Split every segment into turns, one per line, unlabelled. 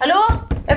Hallo? Jeg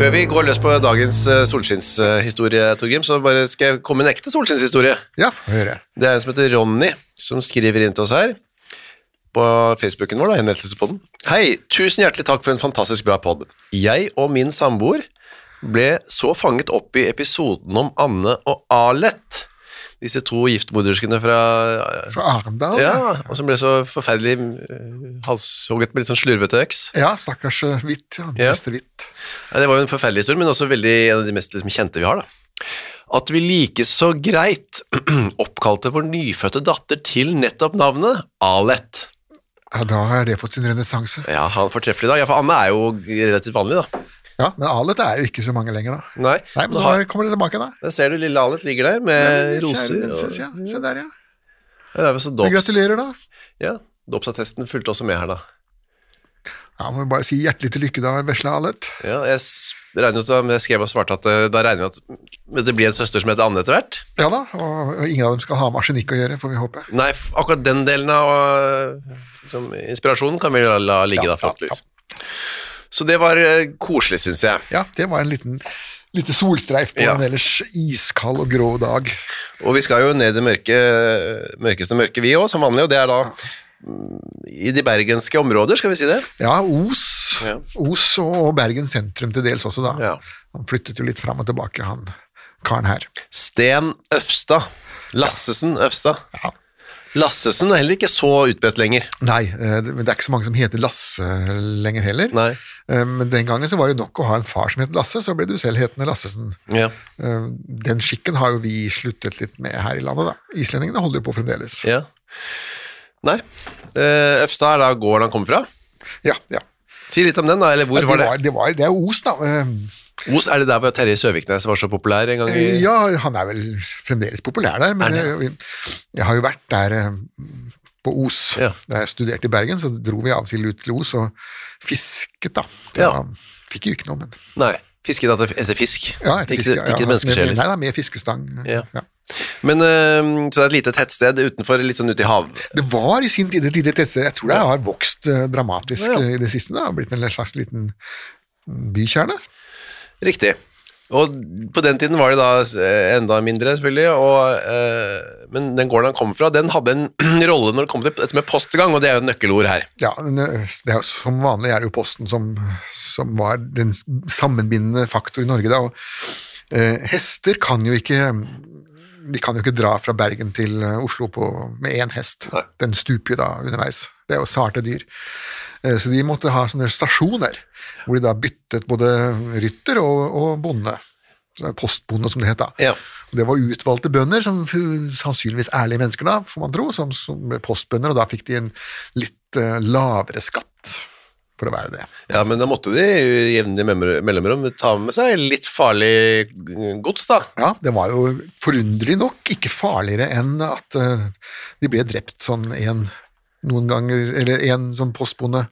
Før vi går løs på dagens eh, solskinnshistorie, Torgrim, så bare skal jeg komme med en ekte solskinnshistorie.
Ja, hører jeg.
Det er en som heter Ronny, som skriver inn til oss her på Facebooken vår, da, henvendelsespodden. Hei, tusen hjertelig takk for en fantastisk bra podd. Jeg og min samboer ble så fanget opp i episoden om Anne og Alet, disse to giftmoderskene fra
Fra Arendal?
ja, og som ble så forferdelig eh, halshogget med litt sånn slurvete øks.
Ja, stakkars eh, Hvitt. Ja.
Ja.
Beste Hvitt.
Ja, det var jo en forferdelig historie, men også veldig en av de mest liksom, kjente vi har. da. At vi like så greit oppkalte vår nyfødte datter til nettopp navnet Alet.
Ja, da har det fått sin renessanse.
Ja, han fortreffelig i dag. Ja, for Anne er jo relativt vanlig, da.
Ja, men Alet er jo ikke så mange lenger, da.
Nei,
Nei, men
men
nå
har,
har- kommer det tilbake, da.
der ser du lille Alet ligger der med
Men,
roser.
kjære den, se-
Og,
se- ja, Se der, ja.
her er vi så
Men
dops.
gratulerer, da.
Ja, Dopsattesten fulgte også med her, da.
Ja, Må vi bare si hjertelig til lykke, da, vesle Alet.
Ja, jeg s- regner ut, da, men jeg skrev og svarte at eh, da regner vi at det blir en søster som heter Anne etter hvert.
Ja da, og, og ingen av dem skal ha med arsenikk å gjøre, får vi håpe.
Nei, f- akkurat den delen av øh, liksom, inspirasjonen kan vi la- la ligge
Ja,
da,
ja,
forhåpentligvis. Så det var øh, koselig, syns jeg.
Ja, det var en liten lite solstreif på
Ja.
en ellers iskald og grå dag.
Og vi skal jo ned i det mørke, øh, mørkeste mørke, vi òg, som vanlig, og det er da mm, i de bergenske områder, skal vi si det?
Ja, Os.
Ja.
Os og Bergen sentrum til dels også, da.
Ja.
Han flyttet jo litt fram og tilbake, han karen her.
Sten Øfstad. Lassesen Øfstad.
Ja.
Lassesen er heller ikke så utbredt lenger.
Nei, eh, det men det er ikke så mange som heter Lasse lenger heller.
Nei.
Eh, Men den gangen så var det nok å ha en far som het Lasse, så ble du selv hetende Lassesen.
Ja.
Eh, Den skikken har jo vi sluttet litt med her i landet, da. Islendingene holder jo på fremdeles.
ja. Nei. Eh, Øfstad er da gården han kommer fra.
Ja, ja.
Si litt om den, da. Eller hvor
det,
var det?
var, det, var, det er Os, da. Eh,
Os, er det der hvor Terje Søviknes var så populær en gang? i...
Ja, han er vel fremdeles populær der, men jeg, jeg har jo vært der eh, på Os.
Ja.
Da jeg studerte i Bergen, så dro vi av og til ut til Os og fisket, da. Det
Ja.
var- Fikk jo ikke noe, men
Nei, fisket etter, etter fisk.
ja, etter
ikke
fiske- ja,
ikke menneskesjeler.
Nei da, med fiskestang.
Ja.
Ja.
Men øhm, Så det er et lite tettsted utenfor, litt sånn ute i havet.
Det var i sin tid et lite tettsted. Jeg tror det har vokst eh, dramatisk
Ja, ja.
eh, i det siste. Det har blitt en slags liten mm, bykjerne.
Riktig. Og på den tiden var det da eh, enda mindre, selvfølgelig. Og, eh, men den gården han kom fra, den hadde en rolle når det kom til dette med postgang, og det er jo et nøkkelord her.
Ja, men, eh, det er, jo- Som vanlig er det jo Posten som, som var den s- sammenbindende faktor i Norge. Da. Og, eh, hester kan jo ikke De kan jo ikke dra fra Bergen til eh, Oslo på, med én hest. Den stuper jo da underveis. Det er jo sarte dyr. Eh, så de måtte ha sånne stasjoner hvor de da byttet både rytter og, og bonde. Så Postbonde, som det het da.
Ja.
Og Det var utvalgte bønder, som fu- sannsynligvis ærlige mennesker, da, får man tro, som, som ble postbønder, og da fikk de en litt eh, lavere skatt for å være det.
Ja, men da måtte de jo i jevnlige memmer- mellomrom ta med seg litt farlig eh, gods, da.
Ja, Det var jo forunderlig nok ikke farligere enn at eh, de ble drept sånn en noen ganger, eller en som postbonde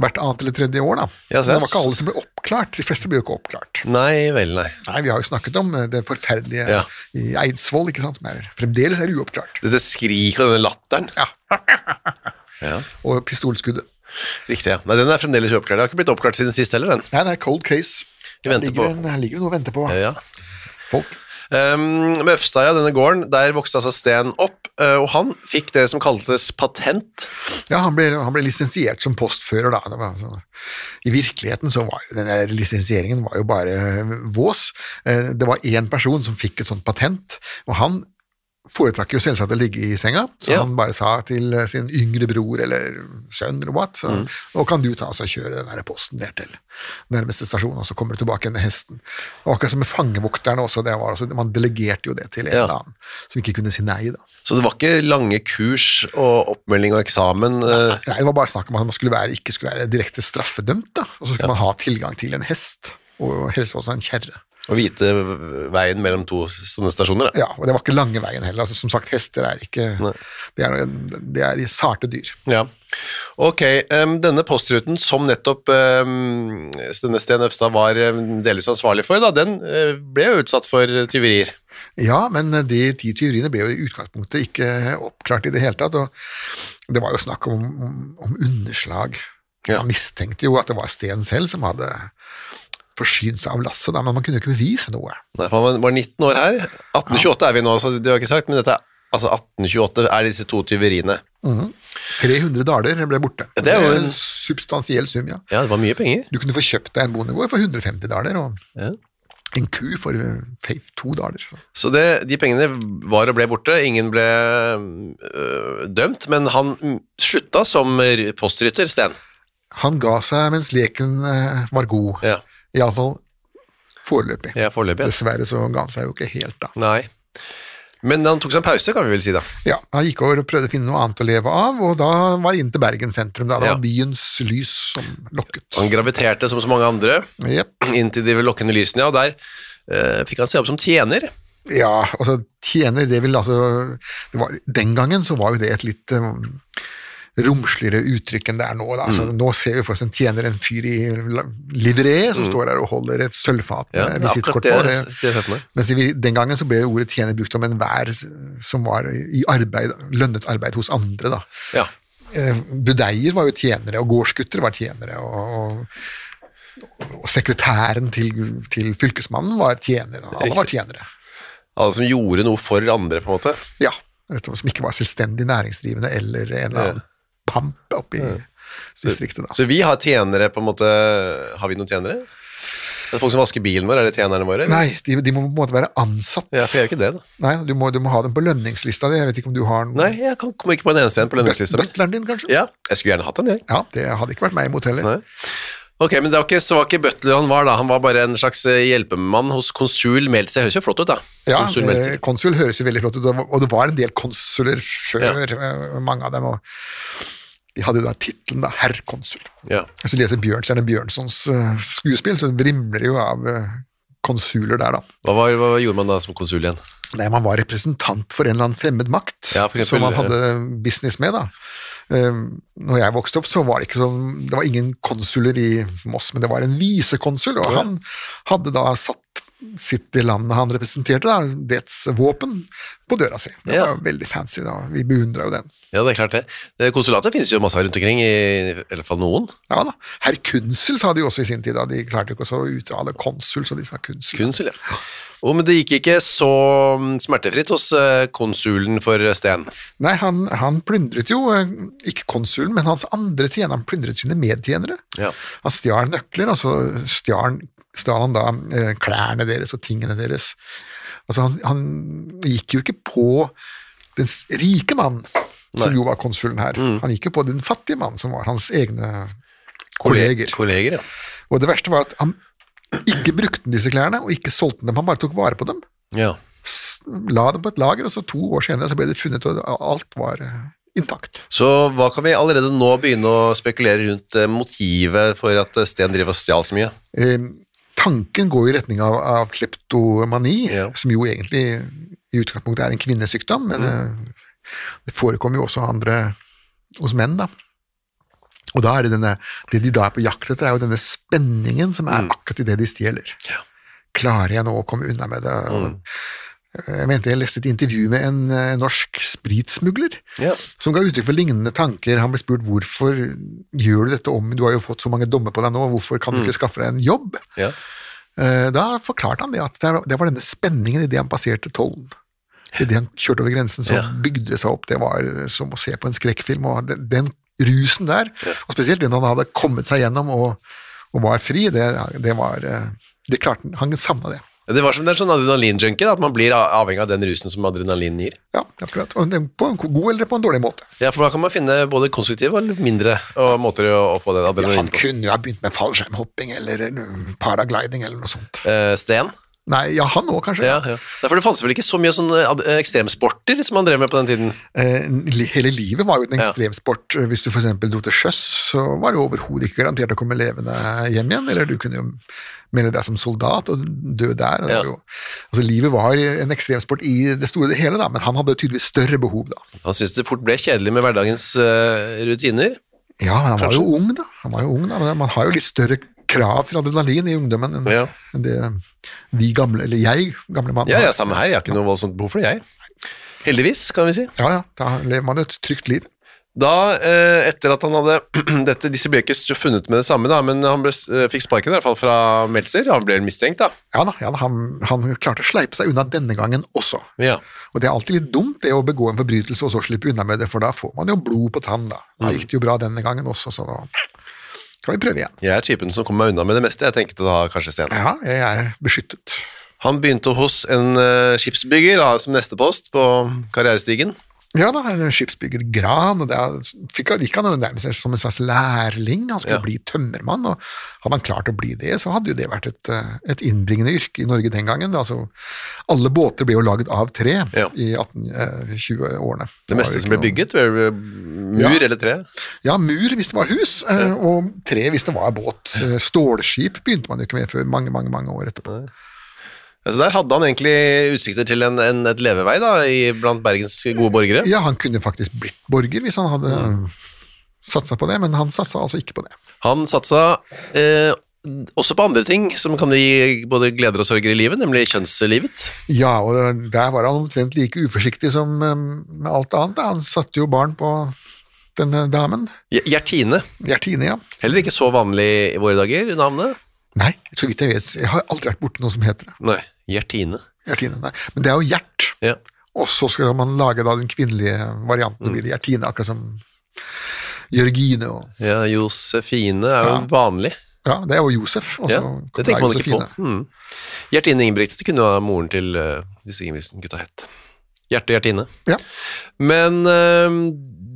hvert annet eller tredje år. da.
Ja, så
det
jeg
var ikke
s-
alle som ble oppklart. De fleste ble jo ikke oppklart.
Nei vel, nei.
Nei, Vi har jo snakket om eh, det forferdelige
Ja.
i Eidsvoll, ikke sant, som er, fremdeles er uoppklart.
Dette skriket og denne latteren.
Ja,
Ja,
Og pistolskuddet.
Riktig, ja. Nei, den er fremdeles uoppklart. Det har ikke blitt oppklart siden sist heller, den.
Nei, det er cold case.
Vi
Her
venter
ligger,
på-
en, her ligger det noe å vente på.
Ja, ja.
Folk.
Um, Møfstad, ja, denne gården, der vokste altså Sten opp, eh, og han fikk det som kaltes patent.
Ja, han ble, han ble lisensiert som postfører, da. Det var sånn. I virkeligheten så var jo den der lisensieringen var jo bare vås. Eh, Det var én person som fikk et sånt patent, og han foretrakk jo selvsagt å ligge i senga, så
Ja.
han bare sa til eh, sin yngre bror eller sønn eller what, så,
Mm.
nå kan du ta oss og kjøre den der posten ned til nærmeste stasjon, og så kommer du tilbake igjen med hesten. Og akkurat som med fangevokterne også, det var, altså, man delegerte jo det til en
Ja.
eller annen som ikke kunne si nei, da.
Så det var ikke lange kurs og oppmelding og eksamen. eh,
Nei, det var bare snakk om at man skulle være, ikke skulle være direkte straffedømt, da. og så skulle man ha tilgang til en hest, og helst også en kjerre.
Å vite veien mellom to sånne stasjoner. Da.
Ja, og det var ikke lange veien heller. Altså, som sagt, hester er ikke det er, det er sarte dyr.
Ja. Ok, em, denne postruten som nettopp em, denne Sten Øfstad var em, delvis ansvarlig for, da, den eh, ble jo utsatt for tyverier.
Ja, men eh, de ti tyveriene ble jo i utgangspunktet ikke oppklart i det hele tatt, og det var jo snakk om, om, om underslag.
Ja.
Man mistenkte jo at det var Sten selv som hadde forsynt seg av lasset, da, men man kunne jo ikke bevise noe.
Nei, for Han var 19 år her. 1828 er vi nå, så det har jeg ikke sagt, men dette er altså 1828 er disse to tyveriene.
300 daler ble borte.
Ja, det er jo en-
substansiell sum, ja.
Ja, det var mye penger.
Du kunne få kjøpt deg en bondegård for 150 daler, og
Ja.
en ku for eh, to daler.
Så det, de pengene var og ble borte, ingen ble øh, dømt, men han mm, slutta som r- postrytter, Sten.
Han ga seg mens leken eh, var god,
Ja,
iallfall foreløpig.
ja foreløpig. ja.
Dessverre så ga han seg jo ikke helt, da.
Nei. Men han tok seg en pause, kan vi vel si da.
Ja, Han gikk over og prøvde å finne noe annet å leve av, og da var det inn til Bergen sentrum. Da, da
Ja.
var byens lys som lokket.
Han graviterte som så mange andre
Jep.
inn til de lokkende lysene, ja, og der øh, fikk han se opp som tjener.
Ja, altså tjener, det vil altså det var, Den gangen så var jo det et litt eh, romsligere uttrykk enn det er nå. Da. Altså,
Mm.
Nå ser vi for oss en tjener, en fyr i la- livré som står der og holder et sølvfat
Mm. Ja,
med
det er akkurat
visittkort
det,
på.
det,
Det,
jeg ser for meg.
mens i, den gangen så ble ordet tjener brukt om enhver som var i arbeid, lønnet arbeid hos andre. da.
Ja.
Eh, Budeier var jo tjenere, og gårdsgutter var tjenere. og... og og sekretæren til, til fylkesmannen var tjener, og alle var
Riktig.
tjenere.
Alle som gjorde noe for andre, på en måte.
Ja, rett og slett, som ikke var selvstendig næringsdrivende eller en eller annen pamp oppe i distriktet. da.
Så vi har tjenere, på en måte Har vi noen tjenere? Det er folk som vasker bilen vår, er det tjenerne våre? eller?
Nei, de, de må på en måte være ansatt.
Ja, for jeg gjør ikke det, da.
Nei, du må, du må ha dem på lønningslista di. Jeg vet ikke om du har noen
Nei, jeg kan, kommer ikke på en eneste en på lønningslista mi.
Butleren din, kanskje?
Ja, jeg skulle gjerne hatt den, jeg.
Ja, det hadde ikke vært meg imot heller.
Nei. Ok, men det var ikke, så var ikke butler han var da, han var bare en slags eh, hjelpemann hos konsul Meltzer. Det høres jo flott ut da.
Ja,
konsul
eh,
Meltzer.
konsul høres jo veldig flott ut, og det var- og det var en del konsuler før, eh, mange av dem. og De hadde jo da tittelen da, herr konsul.
Ja.
Hvis du leser Bjørnstjerne Bjørnsons eh, skuespill, så vrimler det jo av eh, konsuler der, da.
Hva, var, hva gjorde man da som konsul igjen?
Nei, man var representant for en eller annen fremmed makt
Ja, for eksempel-
som man hadde business med, da. Um, når jeg vokste opp, så var det ikke sånn Det var ingen konsuler i Moss, men det var en visekonsul, og han hadde da satt sitt i landet han representerte, da, dets våpen, på døra si. Det
Ja.
var veldig fancy, da. Vi beundra jo den.
Ja, det er klart det. Eh, Konsulatet finnes jo masse rundt omkring, i, i hvert fall noen.
Ja da. Herr Kunsel sa de jo også i sin tid, da. De klarte jo ikke å uttale konsul, så de sa kunsel.
Konsul, ja. Og, men det gikk ikke så mm, smertefritt hos eh, konsulen for Sten.
Nei, han, han plyndret jo, eh, ikke konsulen, men hans andre tjener, han plyndret sine medtjenere.
Ja.
Han stjal nøkler, og så stjal, stjal han da eh, klærne deres og tingene deres. Altså, han, han gikk jo ikke på den s- rike mann, som jo var konsulen her. Han gikk jo på den fattige mann, som var hans egne kolleger.
Kolleger, ja.
Og det verste var at han ikke brukte disse klærne, og ikke solgte dem, han bare tok vare på dem.
Ja,
S- La dem på et lager, og så to år senere så ble det funnet, og alt var eh, intakt.
Så hva kan vi allerede nå begynne å spekulere rundt eh, motivet for at eh, Sten driver og stjal så mye?
Eh, tanken går i retning av, av kleptomani,
Ja.
som jo egentlig i utgangspunktet er en kvinnesykdom, men eh, det forekommer jo også andre hos menn, da. Og da er det denne, det de da er på jakt etter, er jo denne spenningen som er akkurat i det de stjeler. Klarer jeg nå å komme unna med det? Og Jeg mente jeg leste et intervju med en eh, norsk spritsmugler
Ja.
som ga uttrykk for lignende tanker. Han ble spurt hvorfor gjør du dette om, du har jo fått så mange dommer på deg nå, hvorfor kan du ikke skaffe deg en jobb?
Ja.
Eh, Da forklarte han det at det var- det var denne spenningen idet han passerte tollen. Idet han kjørte over grensen, så
Ja.
bygde det seg opp. Det var eh, som å se på en skrekkfilm. og Den, den rusen der, og spesielt den han hadde kommet seg gjennom og, og var fri, det, det var eh, Det klarte han. Han savna det.
Det var som det er sånn adrenalinjunkie, da, at man blir a- avhengig av den rusen som adrenalin gir.
Ja, det er akkurat. Og det- På en god eller på en dårlig måte.
Ja, for da kan man finne både konstruktive og mindre og måter å, å få den
Ja, han
adrenalinen på.
kunne jo ha begynt med fallskjermhopping eller eh, paragliding eller noe sånt.
Eh, Sten?
Nei, ja, han òg, kanskje.
Ja, ja. Nei, for det fantes vel ikke så mye sånne ad- eh, ekstremsporter som han drev med på den tiden?
Eh, li- Hele livet var jo en
Ja.
ekstremsport. Eh, Hvis du f.eks. dro til sjøs, så var det jo overhodet ikke garantert å komme levende hjem igjen. Eller du kunne jo melde deg som soldat og dø der. og det
Ja.
var Jo, altså, livet var en ekstremsport i det store og det hele, da, men han hadde tydeligvis større behov da.
Han syntes det fort ble kjedelig med hverdagens eh, rutiner.
Ja, men han var
Kanskje.
jo ung, da. Han var jo ung, da. Men man har jo litt større krav til adrenalin i ungdommen enn
Ja.
enn det vi gamle, eller jeg, gamle mann,
Ja,
har.
ja, samme her. Jeg har ikke noe voldsomt behov for det, jeg. Heldigvis, kan vi si.
ja, ja. Da lever man et trygt liv.
Da, eh, etter at han hadde dette, Disse ble ikke s- funnet med det samme, da, men han ble, s- eh, fikk sparken i hvert fall fra Meltzer. Han ble mistenkt, da.
Ja da, ja, da han, han klarte å sleipe seg unna denne gangen også.
Ja.
Og det er alltid litt dumt det å begå en forbrytelse og så slippe unna med det, for da får man jo blod på tann, da. Da
Mm.
gikk det jo bra denne gangen også, så nå kan vi prøve igjen.
Jeg er typen som kommer meg unna med det meste, jeg tenkte da kanskje Sten.
Ja, jeg er beskyttet.
Han begynte hos en eh, skipsbygger da, som neste post på karrierestigen.
Ja da, en skipsbygger Gran, og der fikk, han- gikk han jo nærmest som en slags lærling, han skulle
Ja.
bli tømmermann, og hadde han klart å bli det, så hadde jo det vært et, eh, et innbringende yrke i Norge den gangen. Altså, alle båter ble jo laget av tre
Ja.
i eh, 1820-årene.
Det meste som ble bygget, var mur
Ja.
eller tre.
Ja, mur hvis det var hus, eh, og tre hvis det var båt. Eh, Stålskip begynte man jo ikke med før mange, mange mange år etterpå.
Altså der hadde han egentlig utsikter til en, en, et levevei da, i, blant Bergens gode borgere.
Ja, han kunne faktisk blitt borger hvis han hadde satsa på det, men han satsa altså ikke på det.
Han satsa eh, også på andre ting som kan gi både gleder og sorger i livet, nemlig kjønnslivet.
Ja, og eh, der var han omtrent like uforsiktig som eh, med alt annet. da. Han satte jo barn på denne damen.
Gj- Gjertine.
Gjertine, ja.
Heller ikke så vanlig i våre dager, navnet.
Nei, så vidt jeg vet, jeg har aldri vært borti noe som heter det.
Nei, Gjertine.
Gjertine, nei. Men det er jo Gjert.
Ja.
Og så skal man lage da den kvinnelige varianten, og blir det Gjertine, akkurat som Jørgine og
ja, Josefine er jo
Ja.
vanlig.
Ja, det er jo Josef. og så
Ja,
kom
det tenker
da
man ikke på.
Josefine.
Mm. Gjertine Ingebrigtsen kunne ha moren til eh, disse Ingebrigtsen-gutta hett. Hjerte Gjertine.
Ja.
Men eh,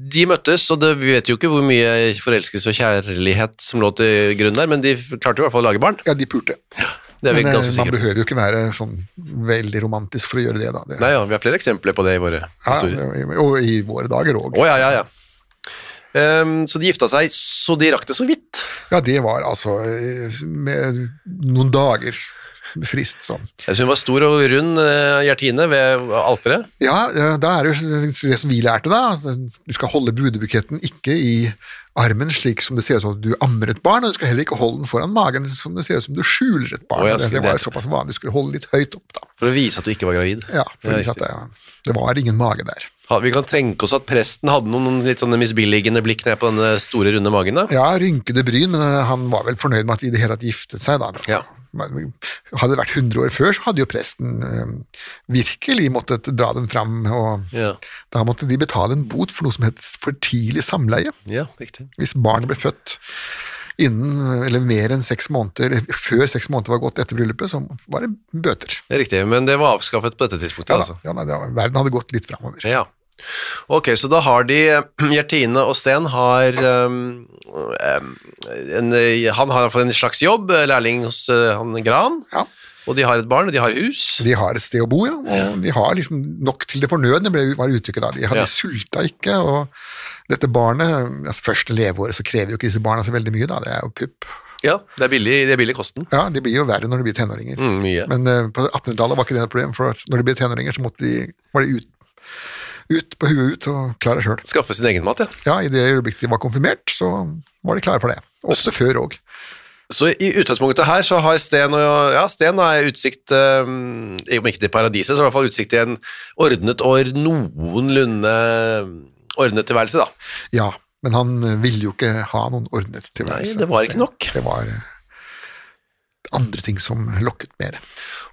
de møttes, og det, vi vet jo ikke hvor mye forelskelse og kjærlighet som lå til grunn der, men de klarte jo i hvert fall å lage barn.
ja, de pulte.
Det er vi
Men eh,
ganske
man
sikre på.
behøver jo ikke være sånn veldig romantisk for å gjøre det, da. Det,
Nei, ja, vi har flere eksempler på det i våre
ja,
historier.
og- og i våre dager òg.
Å, ja, ja, ja. Ehm, så de gifta seg, så de rakk det så vidt.
Ja, det var altså eh, med noen dager frist sånn.
Jeg synes hun var stor og rund, eh, Gjertine, ved alteret.
Ja, eh, da er det jo det som vi lærte, da. at Du skal holde brudebuketten ikke i armen slik som det ser ut som du ammer et barn, og du skal heller ikke holde den foran magen som det ser ut som du skjuler et barn.
Å, ja,
det,
skulle
det var
det-
såpass vanlig, du skulle holde litt høyt opp, da.
For å vise at du ikke var gravid.
Ja, for
Ja,
det, at
riktig.
det, det var ingen mage der.
Ha- Vi kan tenke oss at presten hadde noen litt sånne misbilligende blikk ned på denne store, runde magen. da.
Ja, rynkede bryn, men eh, han var vel fornøyd med at de i det hele tatt giftet seg, da.
Ja.
Men Hadde det vært 100 år før, så hadde jo presten eh, virkelig måttet dra dem fram, og
Ja.
da måtte de betale en bot for noe som het for tidlig samleie.
ja, riktig.
Hvis barnet ble født innen, eller mer enn seks måneder, eller før seks måneder var gått etter bryllupet, så var det bøter.
Det er riktig, men det var avskaffet på dette tidspunktet,
Ja, da,
altså.
ja, nei, det var, verden hadde gått litt framover.
Ja. Ok, så da har de eh, Gjertine og Sten har ehm, ehm, en, eh, Han har i hvert fall en slags jobb, lærling hos eh, han Gran,
Ja.
og de har et barn, og de har hus.
De har et sted å bo, ja. Og de har liksom nok til det fornødne, ble, var uttrykket da. De, har-
Ja.
de sulta ikke, og dette barnet altså Første leveåret så krever jo ikke disse barna så veldig mye, da. Det er jo pupp.
Ja, det er billig, det er billig kosten.
Ja, de blir jo verre når de blir tenåringer.
Mm, mye.
Men eh, på 1800-tallet var ikke det et problem, for at når de ble tenåringer, så måtte de, var de ut, ut på huet ut og klar deg sjøl.
Skaffe sin egen mat, ja.
Ja, i det øyeblikket de var konfirmert, så var de klare for det. Ofte før òg.
Så i utgangspunktet her så har Sten og Ja, Sten har utsikt eh, Om ikke til paradiset, så i hvert fall utsikt til en ordnet og noenlunde eh, ordnet tilværelse, da.
Ja, men han eh, ville jo ikke ha noen ordnet tilværelse.
Nei, det var ikke nok.
Det var eh, andre ting som lokket mer.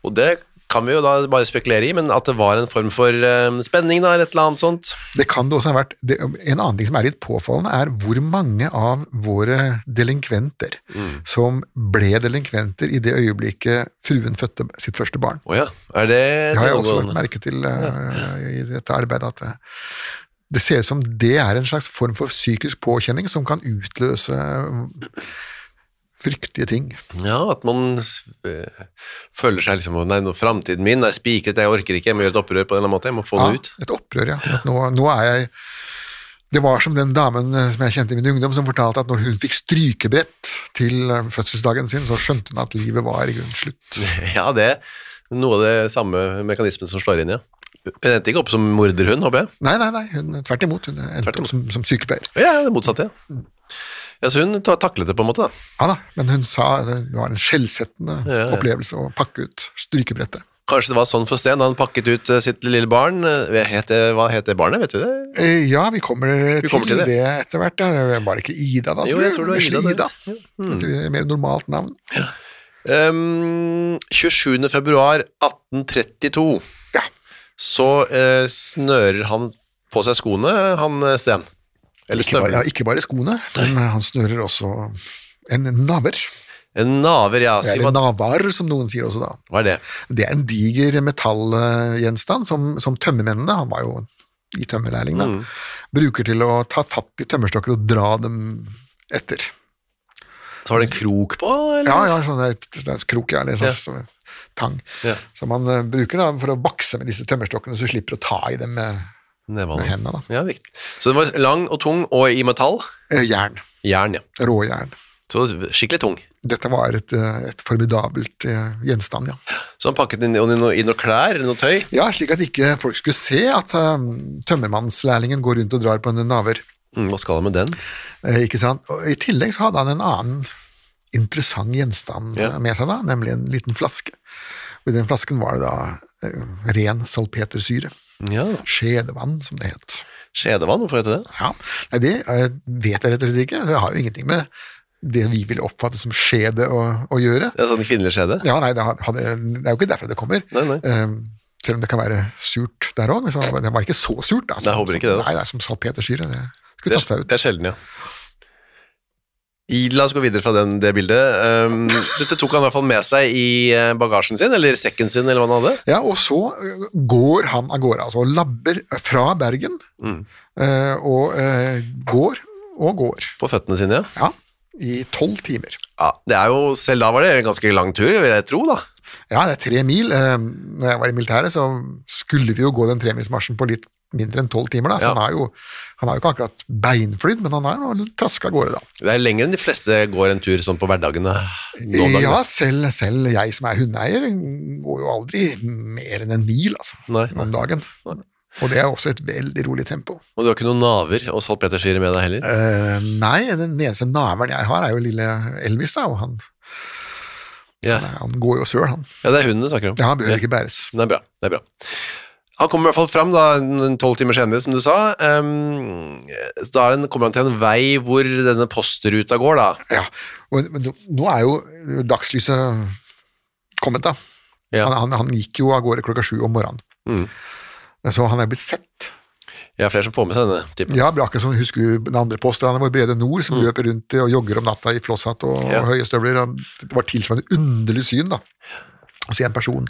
Og det kan vi jo da bare spekulere i, men at det var en form for eh, spenning, da, eller et eller annet sånt.
Det kan det også ha vært. Det, en annen ting som er litt påfallende, er hvor mange av våre delinkventer
Mm.
som ble delinkventer i det øyeblikket fruen fødte sitt første barn.
Å ja, er det
Det har jeg også
noen-
lagt merke til eh, i dette arbeidet, at eh, det ser ut som det er en slags form for psykisk påkjenning som kan utløse eh, fryktelige ting.
Ja, at man eh, føler seg liksom Nei, nå, framtiden min er spikret, jeg orker ikke, jeg må gjøre et opprør på en eller annen måte, jeg må få det ut.
Ja, et opprør, ja. At nå, nå er jeg Det var som den damen eh, som jeg kjente i min ungdom, som fortalte at når hun fikk strykebrett til eh, fødselsdagen sin, så skjønte hun at livet var i grunnen slutt.
Ja, det er noe av det samme mekanismen som slår inn, ja. Hun endte ikke opp som morderhund, håper jeg.
Nei, nei, nei, hun, tvert imot. Hun endte
Tvert imot.
opp som, som sykepleier.
Ja, ja, det motsatte, ja. Ja, Så hun ta- taklet det på en måte, da.
Ja da, men hun sa eh, det var en skjellsettende
Ja, ja.
opplevelse å pakke ut strykebrettet.
Kanskje det var sånn for Sten, da han pakket ut eh, sitt lille barn. Eh, het det- Hva het det barnet, vet du det?
Eh, Ja, vi kommer,
Vi kommer til
til,
det.
det etter hvert. ja. Var det ikke Ida, da?
Jo, jeg tror det var
Vesle
Ida, Mm. det.
Ida. Et mer normalt navn.
Um, 27. februar 1832
Ja.
så eh, snører han på seg skoene, han eh, Sten. Eller
Ikke bare, ja,
støvler.
ikke bare skoene, men eh, han snører også en naver.
En naver, ja. Si,
Eller
hva,
navar, som noen sier også da.
hva er det?
Det er en diger metallgjenstand som, som tømmermennene, han var jo i tømmerlærling da,
Mm.
bruker til å ta fatt i tømmerstokker og dra dem etter.
Så har det en krok på, eller?
Ja, ja, sånn der, der krok, ja, eller sånn, sånn tang.
Ja.
Som man eh, bruker da, for å bakse med disse tømmerstokkene, så du slipper å ta i dem med
Nevene.
med hendene, da.
Ja, viktig. Så den var lang og tung, og i metall.
eh, jern.
Jern, ja.
Råjern.
Så skikkelig tung.
Dette var et, eh, et formidabelt eh, gjenstand, ja.
Så han pakket inn, inn, noe- i noe klær, eller noe tøy.
Ja, slik at ikke folk skulle se at eh, tømmermannslærlingen går rundt og drar på en naver.
Mm, hva skal han med den?
Eh, ikke sant? Og I tillegg så hadde han en annen interessant gjenstand
Ja.
med seg da, nemlig en liten flaske. Og i den flasken var det da eh, ren salpetersyre.
Ja,
Skjedevann, som det het.
Skjedevann, hvorfor heter det?
Ja, Nei, det eh, vet jeg rett og slett ikke. Det har jo ingenting med det vi ville oppfatte som skjede å, å gjøre.
Det er sånn kvinnelig skjede.
Ja, nei, det, hadde, det er jo ikke derfra det kommer.
Nei, nei.
Ehm, selv om det kan være surt der òg. Det var ikke så surt. da.
Nei, jeg håper ikke det, da.
Nei, det er som salpetersyre. Det skulle
Det
tatt
er,
seg ut.
det er sjelden, ja. I, la oss gå videre fra den, det bildet. Um, dette tok han i hvert fall med seg i eh, bagasjen sin, eller sekken sin, eller hva han hadde.
Ja, og så øh, går han av gårde, altså og labber fra Bergen,
Mm.
øh, og øh, går og går,
På føttene sine, ja.
ja, i tolv timer.
ja. Det er jo, selv da var det en ganske lang tur, vil jeg tro, da.
Ja, det er tre mil. Ehm, Når jeg var i militæret, så skulle vi jo gå den tremilsmarsjen på litt mindre enn tolv timer, da, så
Ja.
han, er jo, han er jo ikke akkurat beinflydd, men han er nå traska av gårde, da.
Det er lenger enn de fleste går en tur sånn på hverdagene. nå om dagen.
Ja, selv, selv jeg som er hundeeier, går jo aldri mer enn en mil altså,
Nei, nei.
om dagen. Og det er også et veldig rolig tempo.
Og du har ikke noen naver og salpetersyre med deg heller?
Eh, nei, den eneste naveren jeg har, er jo lille Elvis, da, og han,
Ja,
han går jo søl, han.
ja det er hunden du snakker om.
Ja, han behøver ikke bæres.
Det er bra. det er bra. Han kommer i hvert fall fram da, en tolv timer senere, som du sa. Ehm, så da er han- kommer han til en vei hvor denne postruta går, da.
Ja, og, men nå- nå er jo dagslyset kommet, da.
Ja. Mm.
Han, han, han gikk jo av gårde klokka sju om morgenen. Så han er blitt sett.
Jeg er flere som får med seg denne typen.
Ja, akkurat som husker du den andre påstanden vår, Brede Nord, som løper rundt i og jogger om natta i flosshatt og,
Mm. Ja.
og høye støvler. og Det var tilsvarende underlig syn, da. Å se en person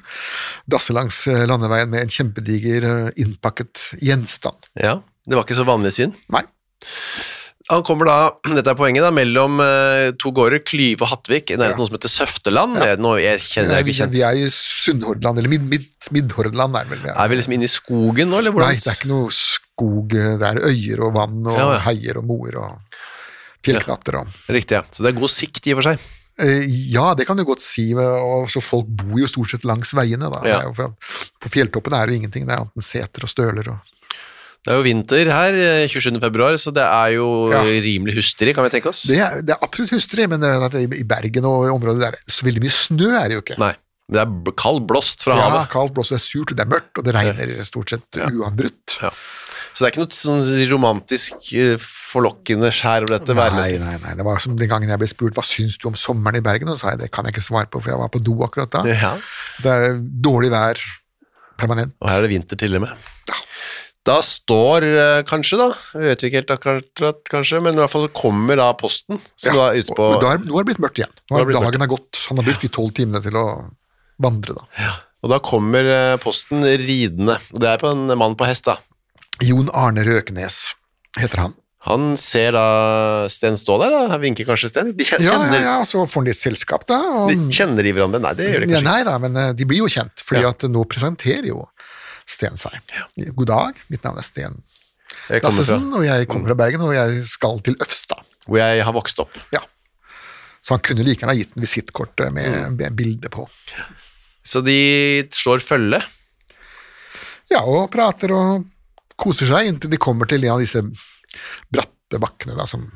dasse langs eh, landeveien med en kjempediger eh, innpakket gjenstand.
Ja, Det var ikke så vanlig syn.
Nei.
Han kommer da, dette er poenget, da, mellom eh, to gårder, Klyve og Hattvik, i nærheten av noe som heter Søfteland. Det er noe jeg kjenner jeg
eh, vi,
ikke kjent.
vi er i Sunnhordland, eller Mid Mid Midhordland er vel vi
Er vi liksom inne i skogen nå, eller hvordan?
Nei, det er ikke noe skog. eh, Det er øyer og vann og
Ja, ja.
heier og moer og fjellknatter og
Riktig, ja. Så det er god sikt i og for seg.
Eh, Ja, det kan du godt si. Og så folk bor jo stort sett langs veiene. Da.
Ja.
Det er jo fra- På fjelltoppene er det jo ingenting, det er enten seter og støler. Og,
Det er jo vinter her, eh, 27. februar, så det er jo
Ja.
eh, rimelig hustrig, kan vi tenke oss.
Det er, det er absolutt hustrig, men eh, at det i i Bergen og i området der så veldig mye snø er det jo ikke.
Nei, det er b- kald blåst fra
Ja,
havet.
kaldt, blåser, det er surt, og det er mørkt, og det regner stort sett uanbrutt.
Ja. Så det er ikke noe sånn romantisk eh, forlokkende skjær over dette
Nei,
værmessig.
nei, nei, det var som den gangen jeg ble spurt hva syns du om sommeren i Bergen, og så sa jeg det kan jeg ikke svare på, for jeg var på do akkurat da.
Ja.
Det er dårlig vær permanent.
Og her er det vinter til og med. Da står eh, kanskje, da, vi vet ikke helt akkurat, kanskje, men i hvert fall så kommer da posten, som da er ute på
Og da er, nå er det blitt mørkt igjen. Nå
Nå er
har
det blitt
dagen er gått. Han har brukt de tolv timene til å vandre, da.
Og da kommer eh, posten ridende, og det er på en mann på hest, da.
Jon Arne Røkenes heter han.
Han ser da Sten stå der, da. Han vinker kanskje Sten. De kjenner,
Ja, ja, ja, så får han litt selskap, da. Og,
De, kjenner de hverandre? Nei, det gjør de
ja,
kanskje ikke.
nei da, men eh, de blir jo kjent, fordi
Ja.
at nå presenterer jo Sten seg. God dag, mitt navn er Sten
Jeg kommer fra Mm.
Lassesen, og jeg kommer fra Bergen, og jeg skal til Øfstad.
hvor jeg har vokst opp.
Ja. Så han kunne like gjerne ha gitt den visittkortet
Mm.
med, med bilde på.
Så de slår følge.
Ja, og prater og koser seg inntil de kommer til en av disse bratte bakkene da, som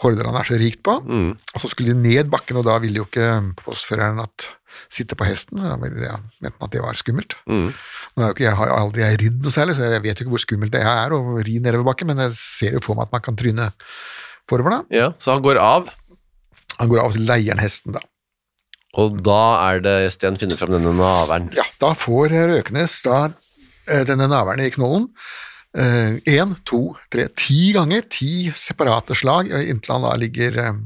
Hordaland er så rikt på. Og så skulle de ned bakken, og da ville jo ikke postføreren at sitte på hesten. Da ville jeg, mente han at det var skummelt. Nå er jo ikke, jeg har jo aldri jeg ridd noe særlig, så jeg vet jo ikke hvor skummelt det er å ri nedover bakken, men jeg ser jo for meg at man kan tryne forover da.
Ja, så han går av,
Han går av og til leieren hesten da.
og da er det Sten finner fram denne naveren.
Ja, da får Røkenes da eh, denne naverne i knollen én, to, tre, ti ganger. Ti separate slag eh, inntil han da ligger eh,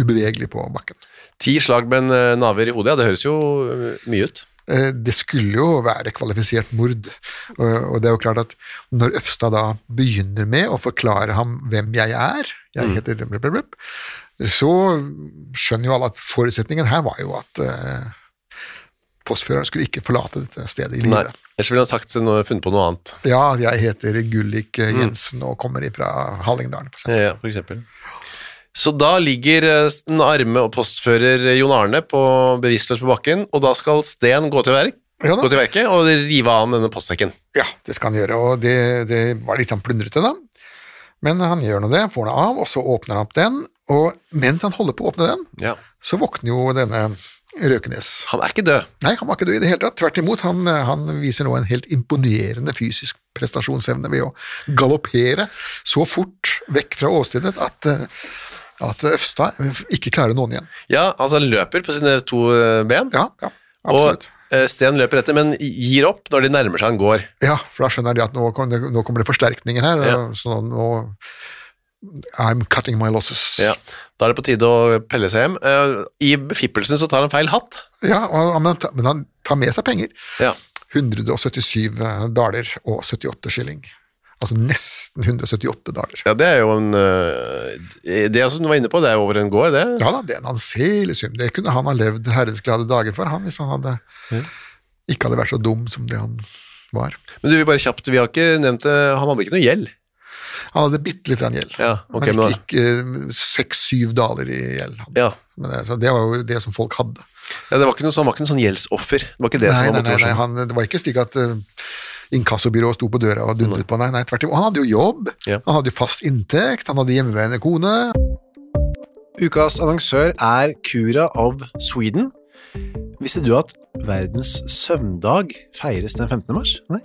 ubevegelig på bakken.
Ti slag med en eh, naver i hodet, ja, det høres jo eh, mye ut.
Eh, Det skulle jo være kvalifisert mord, og og det er jo klart at når Øfstad da begynner med å forklare ham hvem jeg er, jeg heter blip, blip, blip, så skjønner jo alle at forutsetningen her var jo at eh, postføreren skulle ikke forlate dette stedet i
Nei,
livet.
ellers ville han sagt noe, funnet på noe annet.
Ja, jeg heter Gullik eh, Jensen og kommer ifra Hallingdalen. For eksempel.
Ja, for eksempel. Så da ligger eh, den arme og postfører eh, Jon Arne på, bevisstløs på bakken, og da skal Sten gå til, verk,
Ja da.
gå til verket og rive av ham denne postsekken.
ja, det skal han gjøre, og det, det var litt sånn plundrete, da. Men han gjør nå det, får den av, og så åpner han opp den, og mens han holder på å åpne den,
Ja.
så våkner jo denne Røkenes.
Han er ikke død.
Nei, han var ikke død i det hele tatt. Tvert imot, han, eh, han viser nå en helt imponerende fysisk prestasjonsevne ved å galoppere så fort vekk fra åstedet at, eh, at Øfstad ikke klarer å nå han igjen.
Ja, altså han løper på sine to eh, ben,
Ja, ja,
og
absolutt.
eh, Sten løper etter, men gir opp når de nærmer seg han går.
Ja, for da skjønner de at nå, kom det, nå kommer det forsterkninger her,
Ja.
så nå I'm cutting my losses.
Ja. Da er det på tide å pelle seg hjem. Eh, I befippelsen så tar han feil hatt.
Ja, og, men, han tar- men han tar med seg penger.
Ja.
177 daler og 78 skilling. Altså nesten 178 daler.
ja, det er jo en eh, Det som du var inne på, det er jo over en gård, det.
Ja da, det er en anselig sum. Det kunne han ha levd herrensglade dager for, han, hvis han hadde ikke hadde vært så dum som det han var.
Men du, vi bare kjapt, vi har ikke nevnt det, han hadde ikke noe gjeld.
Han hadde bitte litt grann gjeld.
Ja, ok,
han
men da-
gikk seks-syv eh, daler i gjeld. hadde
Ja.
han. Men det, så det var jo det som folk hadde.
Ja, det var ikke noe, så han var ikke noe sånn gjeldsoffer. Det var ikke det
nei,
som var
nei, nei, nei,
motivasjonen.
han, det var ikke slik at eh, inkassobyrået sto på døra og dundret på. Nei, nei, tvert imot. Han hadde jo jobb,
Ja.
han hadde jo fast inntekt, han hadde hjemmeværende kone.
Ukas annonsør er Cura of Sweden. Visste du at verdens søvndag feires den 15. mars? Nei.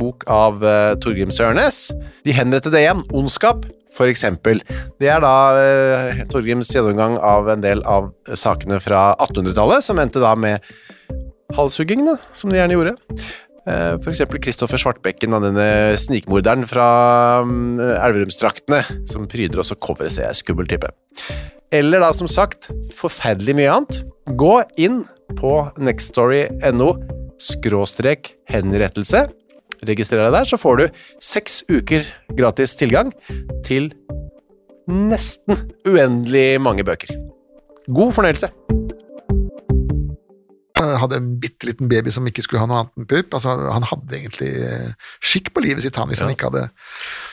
bok av uh, Torgrim Sørnes. De henrettede igjen, ondskap, for eksempel. Det er da eh, Torgrims gjennomgang av en del av sakene fra 1800-tallet, som endte da med halshugging, da, som de gjerne gjorde. Eh, For eksempel Kristoffer Svartbekken, da, denne snikmorderen fra mm, Elverumsdraktene, som pryder også coveret, ser jeg, skummel type. Eller da, som sagt, forferdelig mye annet. Gå inn på nextstory.no skråstrek henrettelse. Registrer deg der, så får du seks uker gratis tilgang til nesten uendelig mange bøker. God fornøyelse!
Jeg hadde en bitte liten baby som ikke skulle ha noe annet enn pupp. Altså, han hadde egentlig eh, skikk på livet sitt, han, hvis han ikke hadde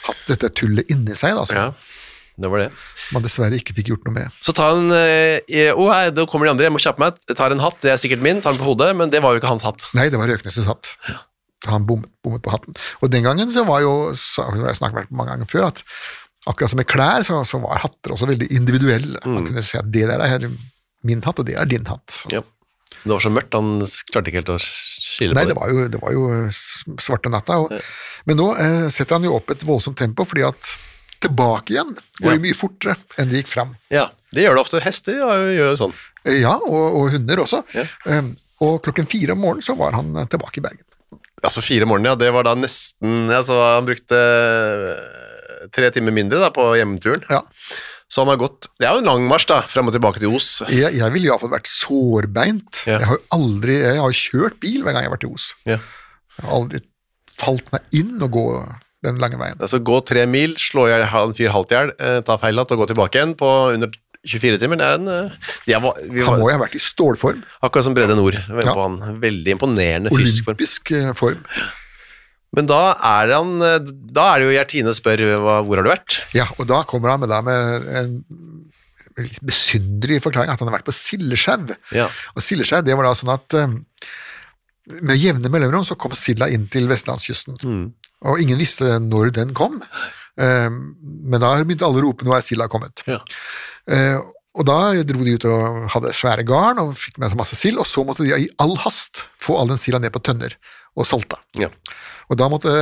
hatt dette tullet inni seg, da, som
det var det.
man dessverre ikke fikk gjort noe med.
Så tar han eh, i- Å, nei, da kommer de andre, jeg må kjappe meg. Jeg tar en hatt, det er sikkert min. Tar den på hodet, men det var jo ikke hans hatt.
Nei, det var Røknes' hatt. Han bommet, bommet på hatten. Og den gangen så var jo, sa- det har jeg snakket om mange ganger før, at akkurat som med klær, så, så var hatter også veldig individuelle.
Mm.
Man kunne si at det der er min hatt, og det er din hatt.
Ja. Det var så mørkt, han s- klarte ikke helt å skille
Nei,
på
det
det.
var jo, det var jo s- svarte natta. Og, Men nå eh, setter han jo opp et voldsomt tempo, fordi at tilbake igjen går jo
Ja.
mye fortere enn det gikk fram.
Ja, det gjør det ofte. Hester ja, gjør jo sånn.
Eh, Ja, og, og hunder også.
Ja.
Eh, Og klokken fire om morgenen så var han eh, tilbake i Bergen.
Altså fire om morgenen, ja, det var da nesten altså, Han brukte eh, tre timer mindre da, på hjemturen.
Ja.
Så han har gått Det er jo en lang marsj, da, frem og tilbake til Os.
Jeg, jeg ville iallfall vært sårbeint.
Ja.
Jeg har jo aldri Jeg har jo kjørt bil hver gang jeg har vært i Os.
Ja.
Jeg har aldri falt meg inn og gå den lange veien.
Altså gå tre mil, slå i en fyr halvt i hjel, eh, ta feil hatt og gå tilbake igjen på under 24 timer. Det er en eh, jeg var, vi
Han
var,
må jo ha vært i stålform.
Akkurat som Brede Nord. Jeg var inne
Ja.
På han. Veldig imponerende fysisk form.
Olympisk eh, form.
Men da er, han, eh, da er det jo Gjertine spør hva, hvor har du vært?
Ja, og da kommer han med, da med en litt besynderlig forklaring at han har vært på Sildeskjau.
Ja.
Og Sildeskjau, det var da sånn at eh, med jevne mellomrom så kom silda inn til vestlandskysten.
Mm.
Og ingen visste når den kom, Eh, men da begynte alle å rope 'nå er silda kommet'.
Ja.
Eh, og da dro de ut og hadde svære garn og fikk med seg masse sild, og så måtte de i all hast få all den silda ned på tønner og salta.
Ja.
Og da måtte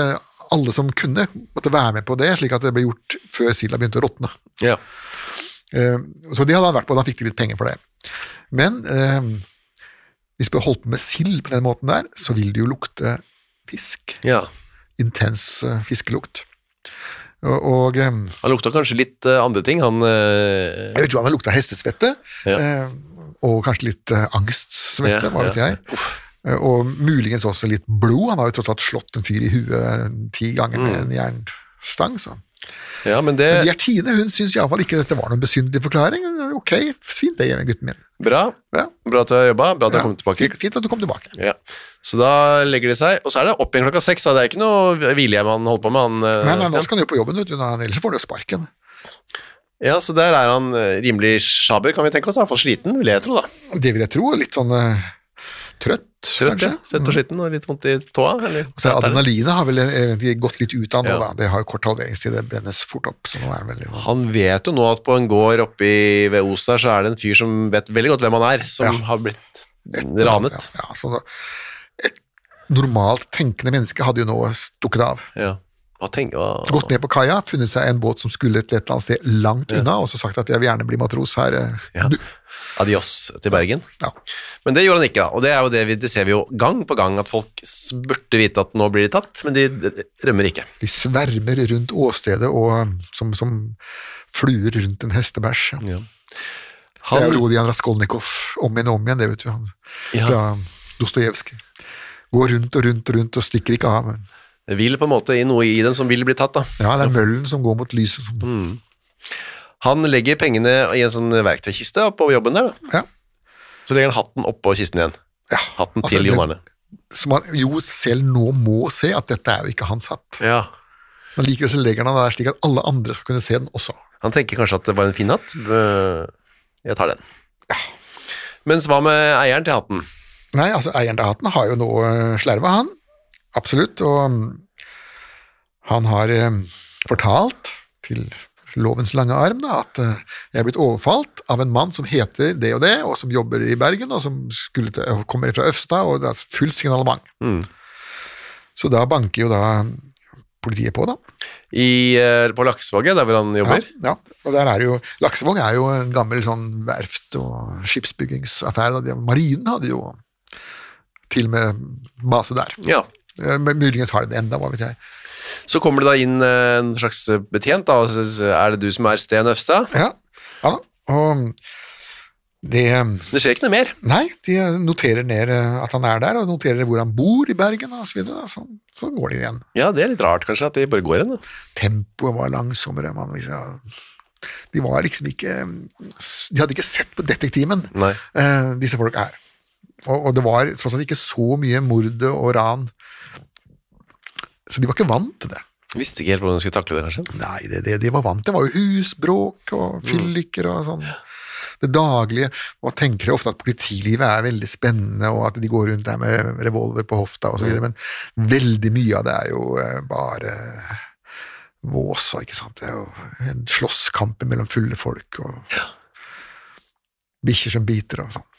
alle som kunne, måtte være med på det, slik at det ble gjort før silda begynte å råtne.
ja.
Eh, Så det hadde han vært på, da fikk de litt penger for det. Men eh, hvis du holdt på med sild på den måten der, så vil det jo lukte fisk.
ja.
Intens eh, fiskelukt. Og, og eh,
Han lukta kanskje litt eh, andre ting, han eh,
jeg vil tro han har lukta hestesvette,
Ja.
eh, og kanskje litt eh, angstsvette,
Ja,
hva vet
ja.
jeg. Eh, Og muligens også litt blod. Han har jo tross alt slått en fyr i huet eh, ti ganger med
Mm.
en jernstang. Så.
Ja, men det
Men Gjertine hun syns iallfall ikke dette var noen besynderlig forklaring. Eh, Ok, fint det, gutten min.
Bra.
Ja.
Bra at du har jobba, bra at du har kommet tilbake.
Fint, fint at du kom tilbake.
Ja. Så da legger de seg, og så er det opp igjen klokka seks. Da. Det er ikke noe hvilehjem han holder på med. Han, eh,
Nei, nei, nå
Stian.
skal han jo på jobben, vet du. nå er han- Ellers får han jo sparken.
Ja, Så der er han eh, rimelig sjaber, kan vi tenke oss. I hvert fall sliten, vil jeg tro. da.
Det vil jeg tro. Litt sånn eh, trøtt,
Trøtt, ja.
kanskje. Mm.
Søtt og sliten og litt vondt i tåa. Eller?
Så adrenalinet har vel eh, egentlig gått litt ut av nå,
Ja.
da. Det har jo kort halveringstid, det brennes fort opp. Så nå er han veldig
Han vet jo nå at på en gård oppe i- ved Os der, så er det en fyr som vet veldig godt hvem han er, som
Ja.
har blitt ranet.
Ja, ja, så da- et normalt tenkende menneske hadde jo nå stukket av.
Ja. Hva tenker hva-
Gått ned på kaia, funnet seg en båt som skulle til et eller annet sted langt unna, og så sagt at jeg vil gjerne bli matros her. eh.
Ja. Adios til Bergen.
Ja.
Men det gjorde han ikke, da. Og det, er jo det, vi, det ser vi jo gang på gang, at folk s- burde vite at nå blir de tatt, men de d- rømmer ikke.
De svermer rundt åstedet og eh, som, som fluer rundt en hestebæsj. Ja. Det er jo
Han,
Rodian Raskolnikov om igjen og om igjen, det vet du han.
Ja.
Fra Dostojevskij. Går rundt og rundt og rundt og stikker ikke av. Men
det vil på en måte i noe i dem som vil bli tatt, da.
ja, det er møllen som går mot lyset. Som,
Mm. Han legger pengene i en sånn verktøykiste på jobben der, da.
ja.
Så legger han hatten oppå kisten igjen. hatten
altså,
til
det-
Jon Arne.
som han jo selv nå må se at dette er jo ikke hans hatt.
Ja.
Men likevel så legger han den der slik at alle andre skal kunne se den også.
Han tenker kanskje at det var en fin hatt. Bø, Jeg tar den. Mens hva med eieren til hatten?
Nei, altså eieren til hatten har jo nå eh, slerva, han. Absolutt. Og mm, han har eh, fortalt til lovens lange arm da, at eh, jeg er blitt overfalt av en mann som heter det og det, og som jobber i Bergen, og som skulle til, og kommer fra Øfstad, og det er fullt signalement. Så da banker jo da politiet på, da.
I, eh, på Laksevåget, der hvor han
Ja,
jobber?
ja. Og der er jo, Laksevåg er jo en gammel sånn verft- og skipsbyggingsaffære. Da. De- Marinen hadde jo til og med base der.
Ja.
Eh, Men muligens har de det enda, hva vet jeg.
Så kommer det da inn eh, en slags betjent, da, og så så er det du som er Sten Øfstad?
Ja, ja da. Og det
Det skjer ikke noe mer.
Nei, de noterer ned eh, at han er der, og noterer hvor han bor i Bergen og så videre. da. Så, så går de igjen.
Ja, det er litt rart kanskje at de bare går igjen. da.
Tempoet var langsommere. Man, liksom, ja. de var liksom ikke De hadde ikke sett på detektimen.
Nei.
eh, disse folk er. Og, og det var tross alt ikke så mye mord og ran, så de var ikke vant til det.
Visste ikke helt hvordan de skulle takle det, kanskje.
Nei, det, det de var vant til, var jo husbråk og fylliker og sånn. Det daglige. Man tenker ofte at politilivet er veldig spennende, og at de går rundt der med revolver på hofta osv., videre, men veldig mye av det er jo eh, bare eh, våsa, ikke sant. Det er jo en slåsskamp mellom fulle folk og bikkjer som biter og sånn.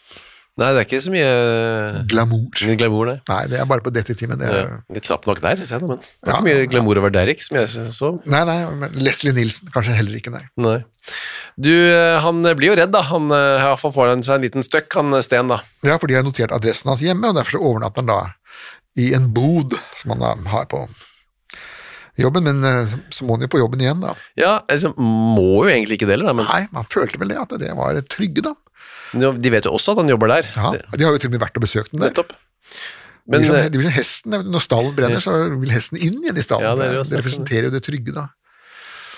Nei, det er ikke så mye
Glamour.
glamour, nei.
Nei, det er bare på detektiven. Det
Det
er,
er knapt nok der, syns jeg. da, Men det er
Ja.
ikke mye glamour over Derrick, som jeg synes så.
Nei, nei, men Leslie Nilsen kanskje heller ikke, nei.
Nei. Du, eh, han blir jo redd, da. Han eh, i hvert fall får han seg en liten støkk, han eh, Sten, da.
Ja, for de har notert adressen hans hjemme, og derfor så overnatter han da i en bod som han da har på jobben, men eh, så må han jo på jobben igjen, da.
Ja, altså, må jo egentlig ikke det heller, da, men
Nei, man følte vel det, at det var trygge, da.
nå- de vet jo også at han jobber der.
Ja,
Det-
de har jo til og med vært og besøkt den der.
Nettopp.
De
Men eh,
blir som, de blir som hesten, vet du, når stallen brenner, så vil hesten inn igjen i stallen.
Ja, det er
det,
jo snakk om det.
representerer jo det trygge, da.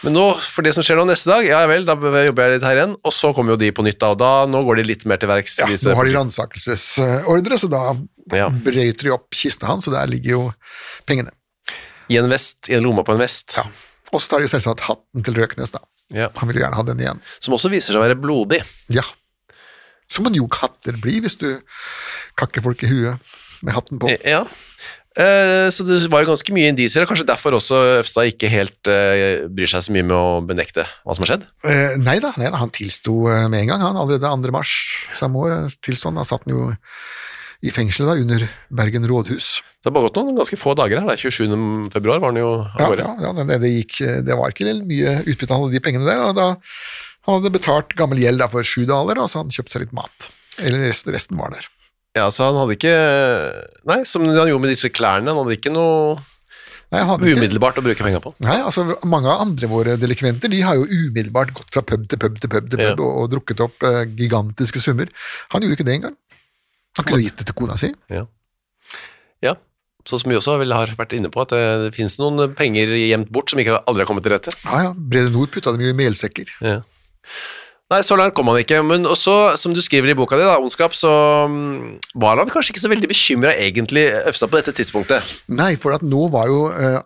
Men nå, for det som skjer nå neste dag, ja vel, da jobber jeg litt her igjen, og så kommer jo de på nytt da, og da, nå går de litt mer til verks.
Ja,
disse-
nå har de ransakelsesordre, så da
Ja.
brøyter de opp kista hans, og der ligger jo pengene.
I en vest, i en lomma på en vest,
Ja. Og så tar de jo selvsagt hatten til Røknes, da.
Ja.
Han vil jo gjerne ha den igjen.
som også viser seg å være blodig.
Ja. Som man jo katter blir hvis du kakker folk i huet med hatten på.
Ja. Eh, Så det var jo ganske mye indisier, og kanskje derfor også Øfstad ikke helt eh, bryr seg så mye med å benekte hva som har skjedd.
Eh, nei da, nei da, han tilsto eh, med en gang. Han allerede 2. mars samme år eh, tilstod han. Da satt han jo i fengselet da, under Bergen
Så
rådhus.
det har bare gått noen ganske få dager her, da. 27. februar var den jo av
Ja,
gårde.
ja, ja det, det, gikk, eh, det var ikke mye utbytte han hadde de pengene der. Og da han hadde betalt gammel gjeld da for sju daler, og så han kjøpte seg litt mat. Eller resten, resten var der.
Ja, så han hadde ikke, nei, som han gjorde med disse klærne, han hadde ikke noe
Nei, han hadde ikke-
umiddelbart å bruke penger på.
Nei, altså Mange av andre våre delikventer de har jo umiddelbart gått fra pub til pub til pub til pub
Ja.
og, og drukket opp eh, gigantiske summer. Han gjorde ikke det engang. Han kunne gitt det til kona si.
Ja. ja. Sånn som vi også vel har vært inne på, at det, det finnes noen penger gjemt bort som ikke aldri har kommet til rette.
Ja, ja, Brede Nord putta dem jo i melsekker.
Ja. Nei, så langt kom han ikke, men også, som du skriver i boka di, da, Ondskap, så mm, var han kanskje ikke så veldig bekymra egentlig, Øfstad, på dette tidspunktet.
Nei, for at nå var jo eh,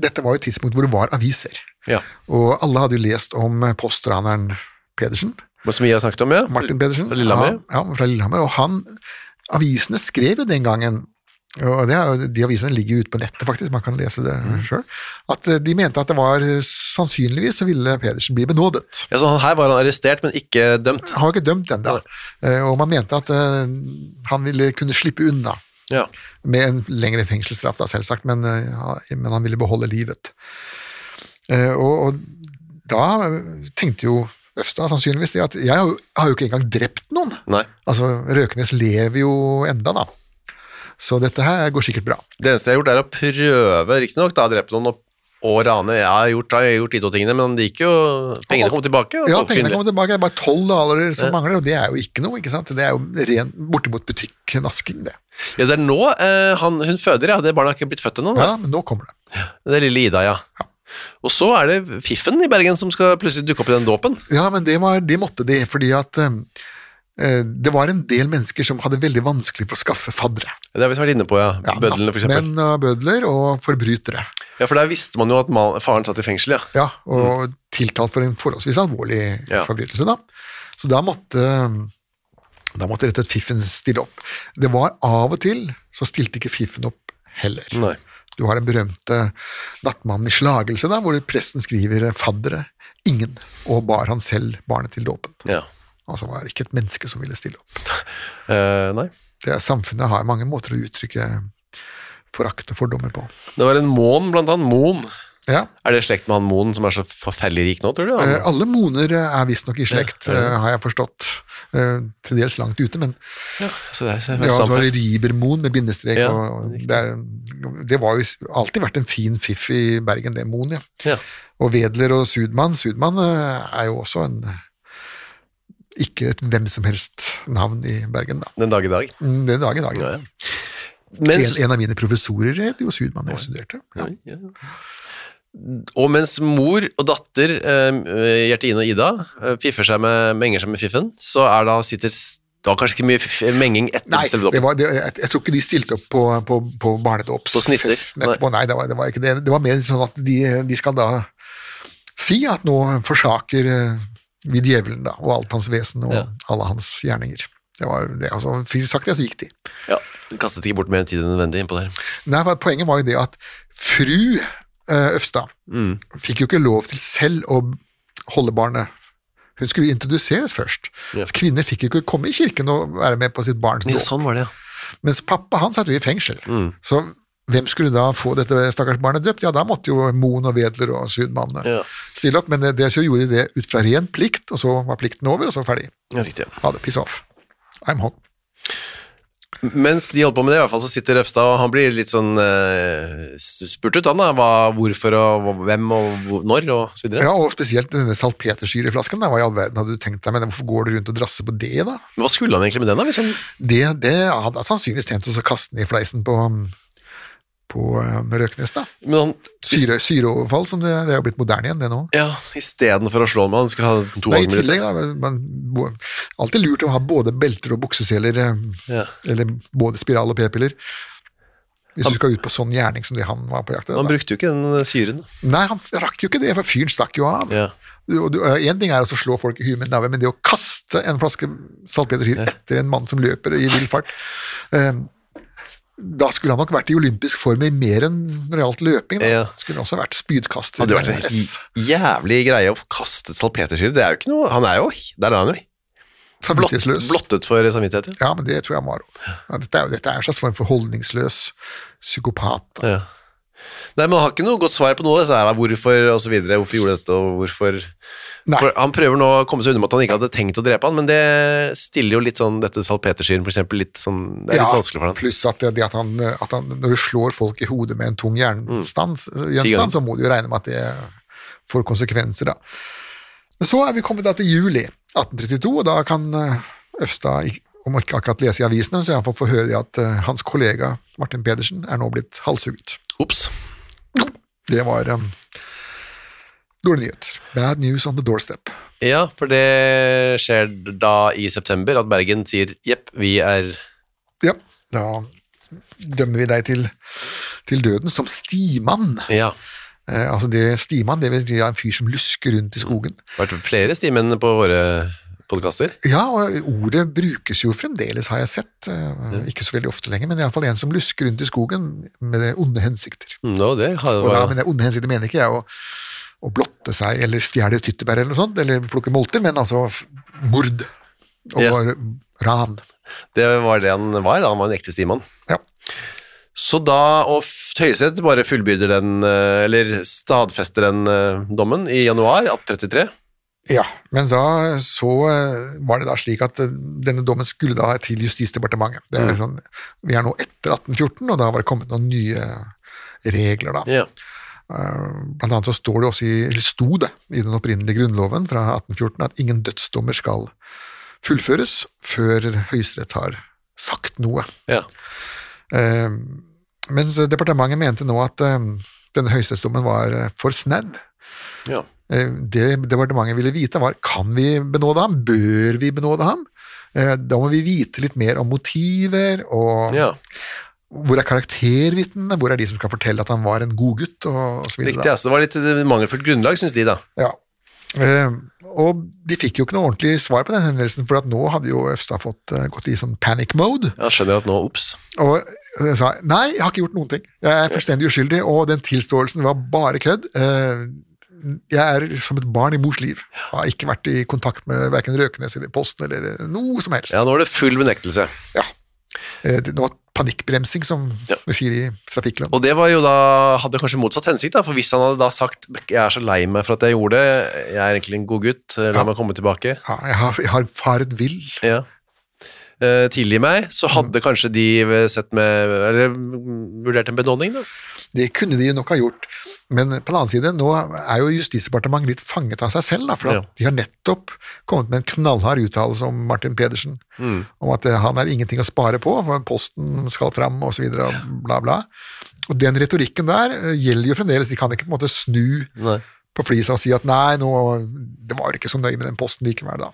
Dette var jo et tidspunkt hvor det var aviser.
Ja.
Og alle hadde jo lest om eh, postraneren Pedersen.
Men Som vi har snakket om, ja.
Martin Pedersen.
Fra Lillehammer.
Ja, ja, fra Lillehammer. Og han, avisene skrev jo den gangen, og det er, jo- de avisene ligger jo ute på nettet faktisk, man kan lese det
Mm.
selv, at eh, de mente at det var eh, sannsynligvis så ville Pedersen bli benådet.
ja. Så han her var han arrestert, men ikke dømt.
Han var ikke dømt ennå, og man mente at eh, han ville eh, kunne slippe unna
Ja.
Med en lengre fengselsstraff, da, selvsagt, men, eh, ha- men han ville beholde livet. Eh, Og, og da eh, tenkte jo Øfstad sannsynligvis det at jeg har jo- har jo ikke engang drept noen.
Nei.
Altså, Røkenes lever jo enda, da. Så dette her går sikkert bra.
Det eneste jeg har gjort, er å prøve, riktignok, da drept noen og, og rane. Jeg har gjort, jeg har gjort de to tingene, men det gikk jo Pengene kom tilbake. og
Ja,
folk
pengene
synlig.
kommer tilbake. Det er bare tolv daler som mangler, og det er jo ikke noe. ikke sant? Det er jo ren bortimot butikknasking, det.
Ja, det er nå eh, han, hun føder, ja. Det barnet har ikke blitt født ennå. da.
Ja, Men nå kommer det.
Det er lille Ida, ja. Og så er det Fiffen i Bergen som skal plutselig dukke opp i den dåpen.
Ja, men det, var, det måtte de, fordi at eh, det var en del mennesker som hadde veldig vanskelig for å skaffe faddere.
Det har vi vært inne på, ja.
Ja,
Bødlene, for eksempel.
nattmenn og bødler og forbrytere.
Ja, for der visste man jo at ma- faren satt i fengsel, ja.
Ja, og tiltalt for en forholdsvis alvorlig
Mm. Ja.
forbrytelse, da. Så da måtte, da måtte rett og slett Fiffen stille opp. Det var av og til så stilte ikke Fiffen opp heller.
Nei.
Du har den berømte Nattmannen i slagelse, da, hvor presten skriver 'faddere ingen', og bar han selv barnet til dåpen.
Ja.
Altså var det ikke et menneske som ville stille opp.
Eh, nei.
Det er, samfunnet har mange måter å uttrykke forakt og fordommer på.
Det var en mån, blant annet. Moen.
Ja,
Er det slekt med han Moen som er så forferdelig rik nå, tror du? Han-
Eh, Alle moner er visstnok i slekt, eh, har jeg forstått. Eh, Til dels langt ute, men
Så det er, så det er
ja, det var
stamfar.
Ribermoen med bindestrek.
Ja,
og og det, er, det var jo s- alltid vært en fin fiff i Bergen, det Moen, ja.
ja.
Og Wedler og Sudmann. Sudmann eh, er jo også en ikke et hvem som helst navn i Bergen, da.
Den dag i dag.
Mm, Det er dag i dag.
Ja, ja.
En,
Mens,
en av mine professorer het jo Sudmann da jeg studerte. Ja.
Oi, ja. Og mens mor og datter, eh, Gjertine og Ida, eh, fiffer seg med, menger seg med fiffen, så er da sitter s- da kanskje ikke mye fiff- menging etter
Nei,
selve
det
dåpen.
var, det, jeg, jeg tror ikke de stilte opp på, på, på
På snitter?
barnedåpsfesten etterpå. Nei, det var, det var ikke det. Det var mer sånn at de, de skal da si at nå forsaker eh, vi djevelen, da, og alt hans vesen og
Ja.
alle hans gjerninger. Det var det, altså, fint sagt det, så gikk de.
Ja, de kastet ikke bort mer tid enn nødvendig innpå der.
Nei, for Poenget var jo det at fru eh, Øfstad
Mm.
fikk jo ikke lov til selv å holde barnet. Hun skulle introduseres først.
Ja.
Kvinner fikk jo ikke komme i kirken og være med på sitt barns
Ja,
dåp.
sånn var det, ja.
Mens pappa han satt jo i fengsel. Så hvem skulle da få dette stakkars barnet døpt? Ja, da måtte jo Moen og Wedler og Sydmannen
Ja.
stille opp, men eh, det, det så gjorde de det ut fra ren plikt, og så var plikten over, og så ferdig.
ja riktig. ja.
Ha det, piss off. I'm home.
Mens de holder på med det, i hvert fall så sitter Røfstad, og han blir litt sånn eh, s- spurt ut, han da, hva, hvorfor og hva- hvem og hvor, når og så videre.
Ja, og spesielt denne salpetersyreflasken, da, hva i all verden hadde du tenkt deg med den, hvorfor går du rundt og drasser på det, da?
Men hva skulle han egentlig med den da, hvis han...
Det, det hadde jeg sannsynligvis tjent oss å kaste den i fleisen på, mm, på eh, Røknes, da.
Men han
Syre, syreoverfall, som det, det er jo blitt moderne igjen, det nå.
Ja, i stedet for å slå med han, skulle ha to
Nei, i
halvminutter.
tillegg, da. Man, bo- alltid lurt å ha både belter og bukseseler, eh,
Ja.
eller både spiral og p-piller. Hvis du skal ut på sånn gjerning som det han var på jakt etter.
Han
da.
brukte jo ikke den eh, syren. da.
Nei, han rakk jo ikke det, for fyren stakk jo av.
Ja.
Og du- eh, en ting er å slå folk i huet med nave, men det å kaste en flaske saltpetersyre etter en mann som løper i vill fart eh, Da skulle han nok vært i olympisk form i mer enn når det gjaldt løping. Da.
Ja.
Skulle han også vært spydkaster.
Hadde det vært en
S.
helt jævlig greie å få kastet salpetersyre. Det er jo ikke noe Han er jo Der er han jo. Blott,
Samvittighetsløs.
blottet for samvittighet.
Ja, men det tror jeg Maro. Ja, dette, er, jo- dette er en slags form for holdningsløs psykopat. da.
Ja. Nei, men han har ikke noe godt svar på noe av dette her, da. hvorfor og så videre. Hvorfor gjorde du dette, og hvorfor
Nei.
for Han prøver nå å komme seg unna med at han ikke hadde tenkt å drepe han, men det stiller jo litt sånn dette salpetersyren, for eksempel, litt sånn Det er litt
Ja,
vanskelig for han.
Pluss at, det, det at, han, at han, når du slår folk i hodet med en tung jernstand,
Mm.
eh,
ganger.
gjenstand, så må du jo regne med at det får konsekvenser, da. Men så er vi kommet da til juli 1832, og da kan eh, Øfstad, ik- om ikke akkurat lese i avisene, så iallfall få høre det at eh, hans kollega Martin Pedersen er nå blitt halshugget.
Ops.
Det var um, dårlige nyheter. Bad news on the doorstep.
Ja, for det skjer da i september at Bergen sier jepp, vi er
Ja, da dømmer vi deg til, til døden som stimann.
Ja.
Eh, altså det Stimann det vil si en fyr som lusker rundt i skogen.
Vært flere stimenn på våre podkaster.
Ja, og ordet brukes jo fremdeles, har jeg sett. Eh, ikke så veldig ofte lenger, men iallfall en som lusker rundt i skogen med onde hensikter.
No, det har,
Og da, men det onde hensikter mener ikke jeg å, å blotte seg eller stjele tyttebær eller noe sånt, eller plukke molter, men altså f- mord. og
Ja.
var ran.
Det var det han var, da. han var en ekte stimann.
Ja.
Så da, og f- Høyesterett bare fullbyrder den, eh, eller stadfester den eh, dommen i januar 1833.
Ja, men da så eh, var det da slik at eh, denne dommen skulle da til Justisdepartementet. Det er sånn, vi er nå etter 1814, og da var det kommet noen nye regler da.
Ja.
Blant annet så står det også i, eller sto det i den opprinnelige grunnloven fra 1814 at ingen dødsdommer skal fullføres før Høyesterett har sagt noe.
ja.
Eh, Mens departementet mente nå at eh, denne høyesterettsdommen var eh, for snadd.
ja.
Eh, Det departementet ville vite, var kan vi benåde ham, bør vi benåde ham? Eh, Da må vi vite litt mer om motiver, og
ja.
hvor er karaktervitnene, hvor er de som skal fortelle at han var en god gutt, og, og så videre.
Riktig. Altså, det var litt eh, mangelfullt grunnlag, syns de, da.
Ja. Eh, og de fikk jo ikke noe ordentlig svar på den henvendelsen, for at nå hadde jo Øfstad fått eh, gått i sånn panic mode,
Jeg skjønner at nå, ops.
og eh, sa nei, jeg har ikke gjort noen ting. Jeg er fullstendig uskyldig, og den tilståelsen var bare kødd. Eh, jeg er som et barn i mors liv. Har ikke vært i kontakt med verken Røkenes eller Posten eller eh, noe som helst.
Ja, nå er det full benektelse.
Ja. Eh, Det var panikkbremsing, som
Ja.
vi sier i trafikkland.
Og det var jo da, hadde kanskje motsatt hensikt, da, for hvis han hadde da sagt 'jeg er så lei meg for at jeg gjorde det, jeg er egentlig en god gutt, eh, la
Ja.
meg komme tilbake',
Ja, jeg har, jeg har faret vill.
ja. Eh, tilgi meg,
Mm.
så hadde kanskje de sett med Eller mm, vurdert en benådning, da.
Det kunne de nok ha gjort, men på den annen side, nå er jo Justisdepartementet litt fanget av seg selv, da, for at
Ja.
de har nettopp kommet med en knallhard uttalelse om Martin Pedersen, om at eh, han er ingenting å spare på, for posten skal fram, og så videre, og bla, bla. Og den retorikken der eh, gjelder jo fremdeles, de kan ikke på en måte snu
Nei.
på flisa og si at nei, nå, det var ikke så nøye med den posten likevel, da.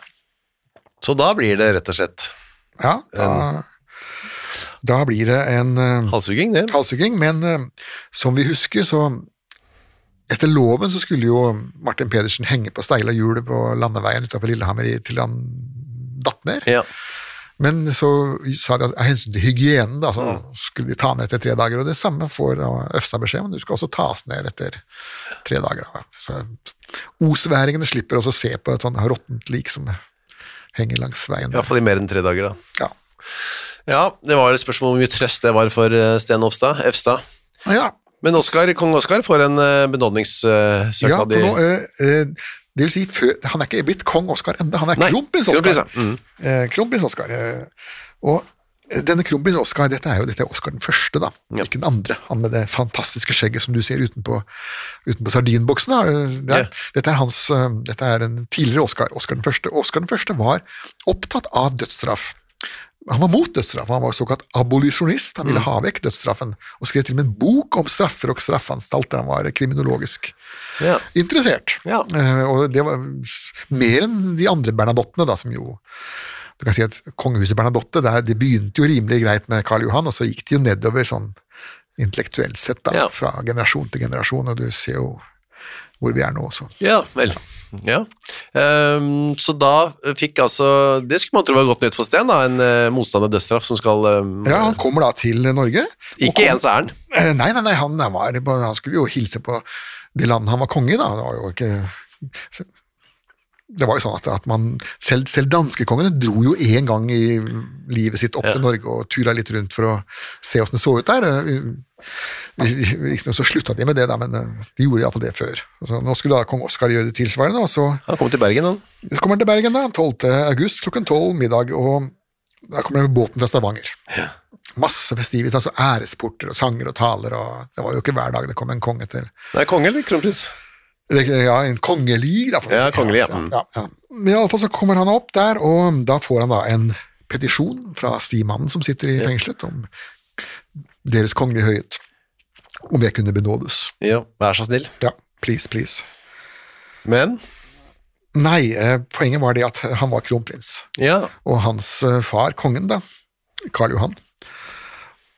Så da blir det rett og slett
Ja, da, da blir det en eh,
halshugging, det.
halshugging, men eh, som vi husker, så etter loven så skulle jo Martin Pedersen henge på steila hjulet på landeveien utenfor Lillehammer i- til han datt ned.
Ja.
Men så sa de at av hensyn til hygienen da, så skulle de ta han ned etter tre dager, og det samme får da Øfstad beskjed om, du skal også tas ned etter tre dager. Da. Så osværingene slipper også å se på et sånn råttent lik som henger langs veien. der.
Iallfall i mer enn tre dager, da.
Ja.
Ja, det var et spørsmål om hvor mye trøst det var for eh, Sten Ofstad, Efstad.
ja.
Men Oscar, kong Oskar får en eh, benådningssøknad
Ja, for
i
nå, eh, eh, det vil si, før, han er ikke blitt kong Oskar enda, han er
Nei,
kronprins
kronprins,
Oskar.
ja. Mm.
Eh, kronprins Oskar. Eh, og eh, denne kronprins Oskar, dette er jo dette er Oskar den første, da. Ikke den andre. Han med det fantastiske skjegget som du ser utenpå, utenpå sardinboksen. Da. Eh, Det er,
Ja.
Dette er hans, eh, dette er en tidligere Oskar, Oskar den første. Oskar den første var opptatt av dødsstraff. Han var mot dødsstraff, han var såkalt
Mm.
abolisjonist, han ville ha vekk dødsstraffen, og skrev til og med en bok om straffer og straffanstalter, han var kriminologisk
ja.
interessert.
Ja.
Eh, og det var s- mer enn de andre Bernadottene, da, som jo Du kan si at kongehuset Bernadotte det, er- det begynte jo rimelig greit med Karl Johan, og så gikk det jo nedover sånn intellektuelt sett, da,
Ja.
fra generasjon til generasjon, og du ser jo hvor vi er nå også.
Ja, vel. Ja. Ehm, så da fikk altså Det skulle man tro var godt nytt for Sten, da. En eh, motstander av dødsstraff som skal ehm,
Ja, Han kommer da til Norge. og
Ikke
kom-
ens ærend.
Eh, Nei, nei, nei han, var, han skulle jo hilse på det landet han var konge i, da. Det var jo ikke Det var jo sånn at, at man Selv, selv danskekongene dro jo en gang i livet sitt opp til Norge og tura litt rundt for å se åssen det så ut der. Eh, Riktignok så slutta de med det, da, men eh, de gjorde iallfall det før. Og Så nå skulle da kong Oskar gjøre det tilsvarende, og så
Han kom til Bergen, han.
så kommer han til Bergen da, 12. august klokken 12 middag, og da kommer han med båten fra Stavanger. Masse festivitas og æresporter og sanger og taler, og det var jo ikke hver dag det kom en konge til.
Nei, konge eller kronprins?
Eller, Ja, en kongelig, da. får vi
Ja,
si. sånn.
kongelig, ja. Mm.
ja, ja. Men i alle fall så kommer han opp der, og da får han da en petisjon fra stimannen som sitter i fengselet, om deres kongelige høyhet, om jeg kunne benådes.
Ja, vær så snill.
Ja, please, please.
Men
Nei, eh, poenget var det at han var kronprins.
Ja.
og hans eh, far, kongen, da, Karl Johan,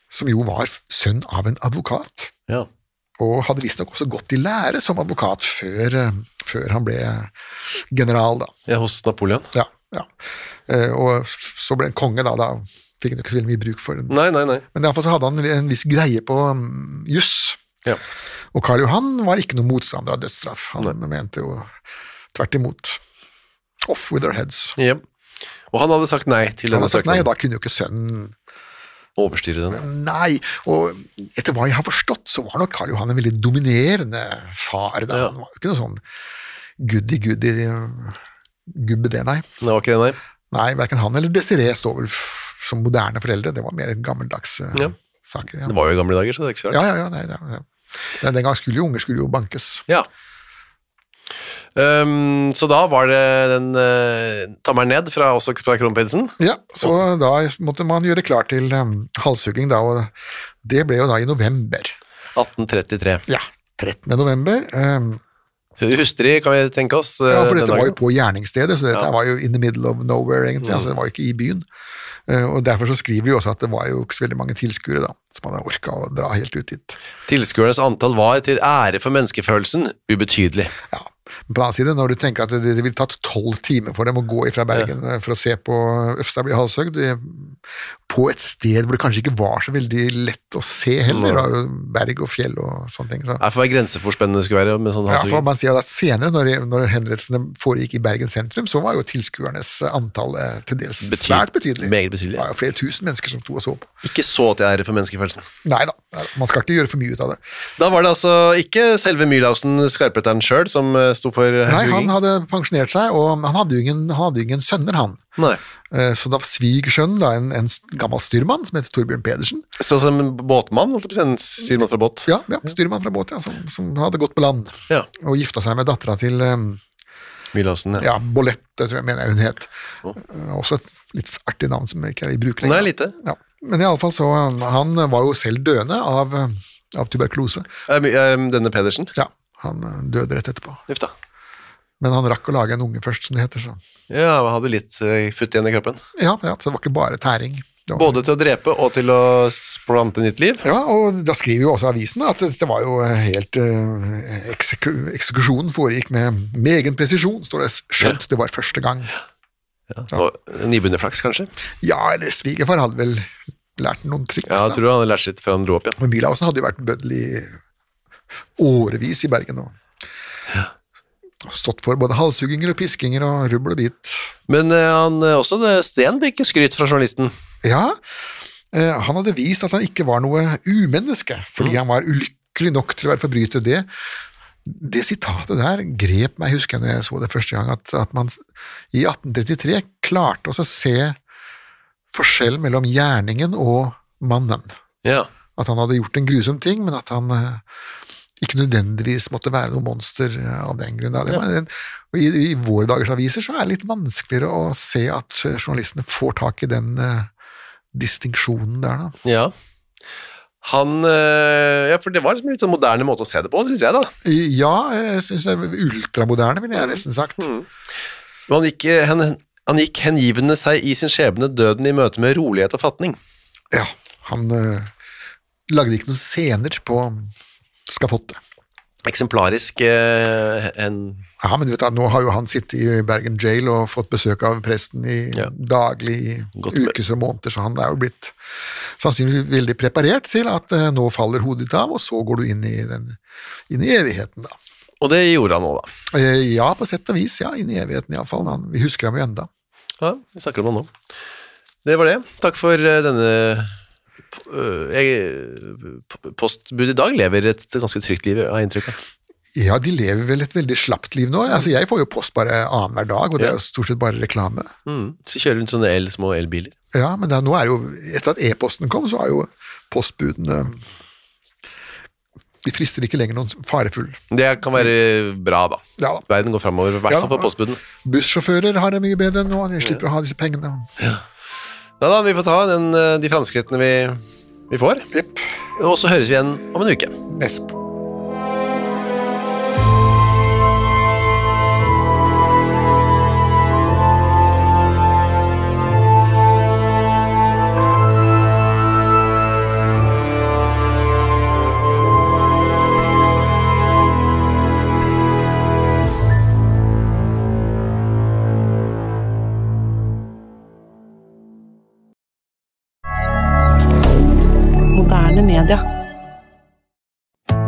som jo var sønn av en advokat,
ja.
og hadde visstnok også gått i lære som advokat før, eh, før han ble general, da.
ja hos Napoleon.
Ja, ja. Eh, Og f- så ble han konge, da. Da fikk han jo ikke så veldig mye bruk for den.
Nei, nei, nei.
Men iallfall så hadde han en viss greie på mm, juss.
Ja.
Og Karl Johan var ikke noen motstander av dødsstraff. Han mente jo tvert imot. Off with their heads.
Ja. Og han hadde sagt nei til
Han
denne
har sagt nei, og
søknaden.
da kunne jo ikke sønnen
Overstyre den.
Nei, og etter hva jeg har forstått, så var nok Karl Johan en veldig dominerende far. Da.
Ja.
Han var jo ikke noe sånn goody-goody-gubbe, det, nei.
Det var ikke det, nei.
Nei, Verken han eller Desiree står vel f- som moderne foreldre, det var mer gammeldags eh,
Ja.
saker. Ja.
Det var jo i gamle dager, så det er ikke så rart.
ja, ja, ja, nei, det er- ja. Men Den gang skulle jo unger skulle jo bankes.
Ja. Ehm, så da var det den uh, tammeren ned fra, også fra kronprinsen.
Ja, Så da måtte man gjøre klar til um, halshugging, da, og det ble jo da i november.
1833.
Ja, 13. november. Um,
Hustrig, kan vi tenke oss. eh,
Ja, for
den
dette var jo
dagen.
på gjerningsstedet, så dette
Ja.
var jo in the middle of nowhere, egentlig. Altså, det var jo ikke i byen. Eh, Og derfor så skriver de jo også at det var jo ikke så veldig mange tilskuere, da, som hadde orka å dra helt ut dit.
Tilskuernes antall var til ære for menneskefølelsen ubetydelig.
Ja. Men på den annen side, når du tenker at det, det ville tatt tolv timer for dem å gå ifra Bergen eh, for å se på Øfstad bli halshøgd, det- på et sted hvor det kanskje ikke var så veldig lett å se heller, det var jo berg og fjell og sånne ting. Så.
Det er for hva grenseforspennende det skulle være med sånn
Ja, for
halshugging.
man sier jo at Senere, når, når henrettelsene foregikk i Bergen sentrum, så var jo tilskuernes antall eh, til dels
Betyd-
svært betydelig.
meget betydelig, ja.
Det var jo flere tusen mennesker som sto og så på.
Ikke så til ære for menneskefølelsen.
Nei da, man skal ikke gjøre for mye ut av det.
Da var det altså ikke selve Mylausen, skarpheteren sjøl, som eh, sto for eh,
Nei,
hugging.
Han hadde pensjonert seg, og han hadde jo ingen, han hadde jo ingen sønner, han.
Nei.
Eh, Så da svigersønnen, da, en, en gammel styrmann som heter Torbjørn Pedersen
Så som en båtmann, holdt jeg på å si, en styrmann fra båt.
Ja, ja styrmann fra båt, ja, som, som hadde gått på land,
Ja.
og gifta seg med dattera til eh,
Mylausen, ja.
ja, Bolette, tror jeg mener jeg hun het. Eh, Også et litt artig navn som ikke er i bruk
Nei, lite.
Ja. Men iallfall så eh, Han var jo selv døende av, eh, av tuberkulose.
Eh, My- eh, Denne Pedersen.
Ja, han eh, døde rett etterpå.
Uff da.
Men han rakk å lage en unge først, som det heter. Så.
Ja, han hadde litt eh, futt igjen i kroppen.
Ja, ja, så det var ikke bare tæring. Det var-
Både til å drepe og til å plante nytt liv.
Ja, og da skriver jo også avisen at det var jo helt eh, ekseku Eksekusjonen foregikk med, med egen presisjon, står det. Skjønt det var første gang.
Og Nybegynnerflaks, kanskje.
Ja, eller svigerfar hadde vel lært noen triks.
Ja,
da.
jeg tror han hadde lært sitt før han dro opp igjen.
Men Mühlhausen hadde jo vært bøddel i årevis i Bergen. Og stått for både halshugginger og piskinger og rubbel og bit.
Men eh, han, eh, også det, Sten fikk skryt fra journalisten.
Ja, eh, han hadde vist at han ikke var noe umenneske, fordi han var ulykkelig nok til å være forbryter. Det, det sitatet der grep meg, husker jeg når jeg så det første gang, at, at man s- i 1833 klarte også å se forskjell mellom gjerningen og mannen.
Ja.
At han hadde gjort en grusom ting, men at han eh, ikke nødvendigvis måtte være noe monster eh, av den grunn. da. Det var en- og I, I våre dagers aviser så er det litt vanskeligere å se at eh, journalistene får tak i den eh, distinksjonen der, da.
ja. Han eh, Ja, for det var liksom en litt sånn moderne måte å se det på, syns jeg, da.
I- Ja, jeg syns det er ultramoderne, ville jeg nesten sagt.
Men han gikk, eh, hen, han gikk hengivende seg i sin skjebne døden i møte med rolighet og fatning.
Ja, han eh, lagde ikke noen scener på skafottet.
Eksemplarisk eh, en
Ja, men du vet da, Nå har jo han sittet i Bergen jail og fått besøk av presten i
Ja.
daglig i
Godt med-
uker og måneder, så han er jo blitt sannsynligvis veldig preparert til at eh, nå faller hodet ditt av, og så går du inn i, den, inn i evigheten, da.
Og det gjorde han òg, da.
Eh, Ja, på sett og vis. Ja, inn i evigheten iallfall. Vi husker ham jo enda.
Ja, vi snakker om han nå. Det var det. Takk for eh, denne øh, jeg, p- Postbud i dag lever et ganske trygt liv, har jeg inntrykk av.
Ja, de lever vel et veldig slapt liv nå. Altså, jeg får jo post bare annenhver dag, og det er jo stort sett bare reklame.
Mm. Så kjører rundt sånne el, små elbiler.
Ja, men da, nå er jo, etter at e-posten kom, så er jo postbudene De frister ikke lenger noen farefull.
Det kan være bra, da.
Ja da.
Verden går framover, i hvert
Ja,
fall for
da.
postbuden.
Bussjåfører har det mye bedre nå, de slipper å ha disse pengene.
Ja da, vi får ta den, eh, de framskrittene vi, vi får.
Jepp.
Og så høres vi igjen om en uke.
Esp.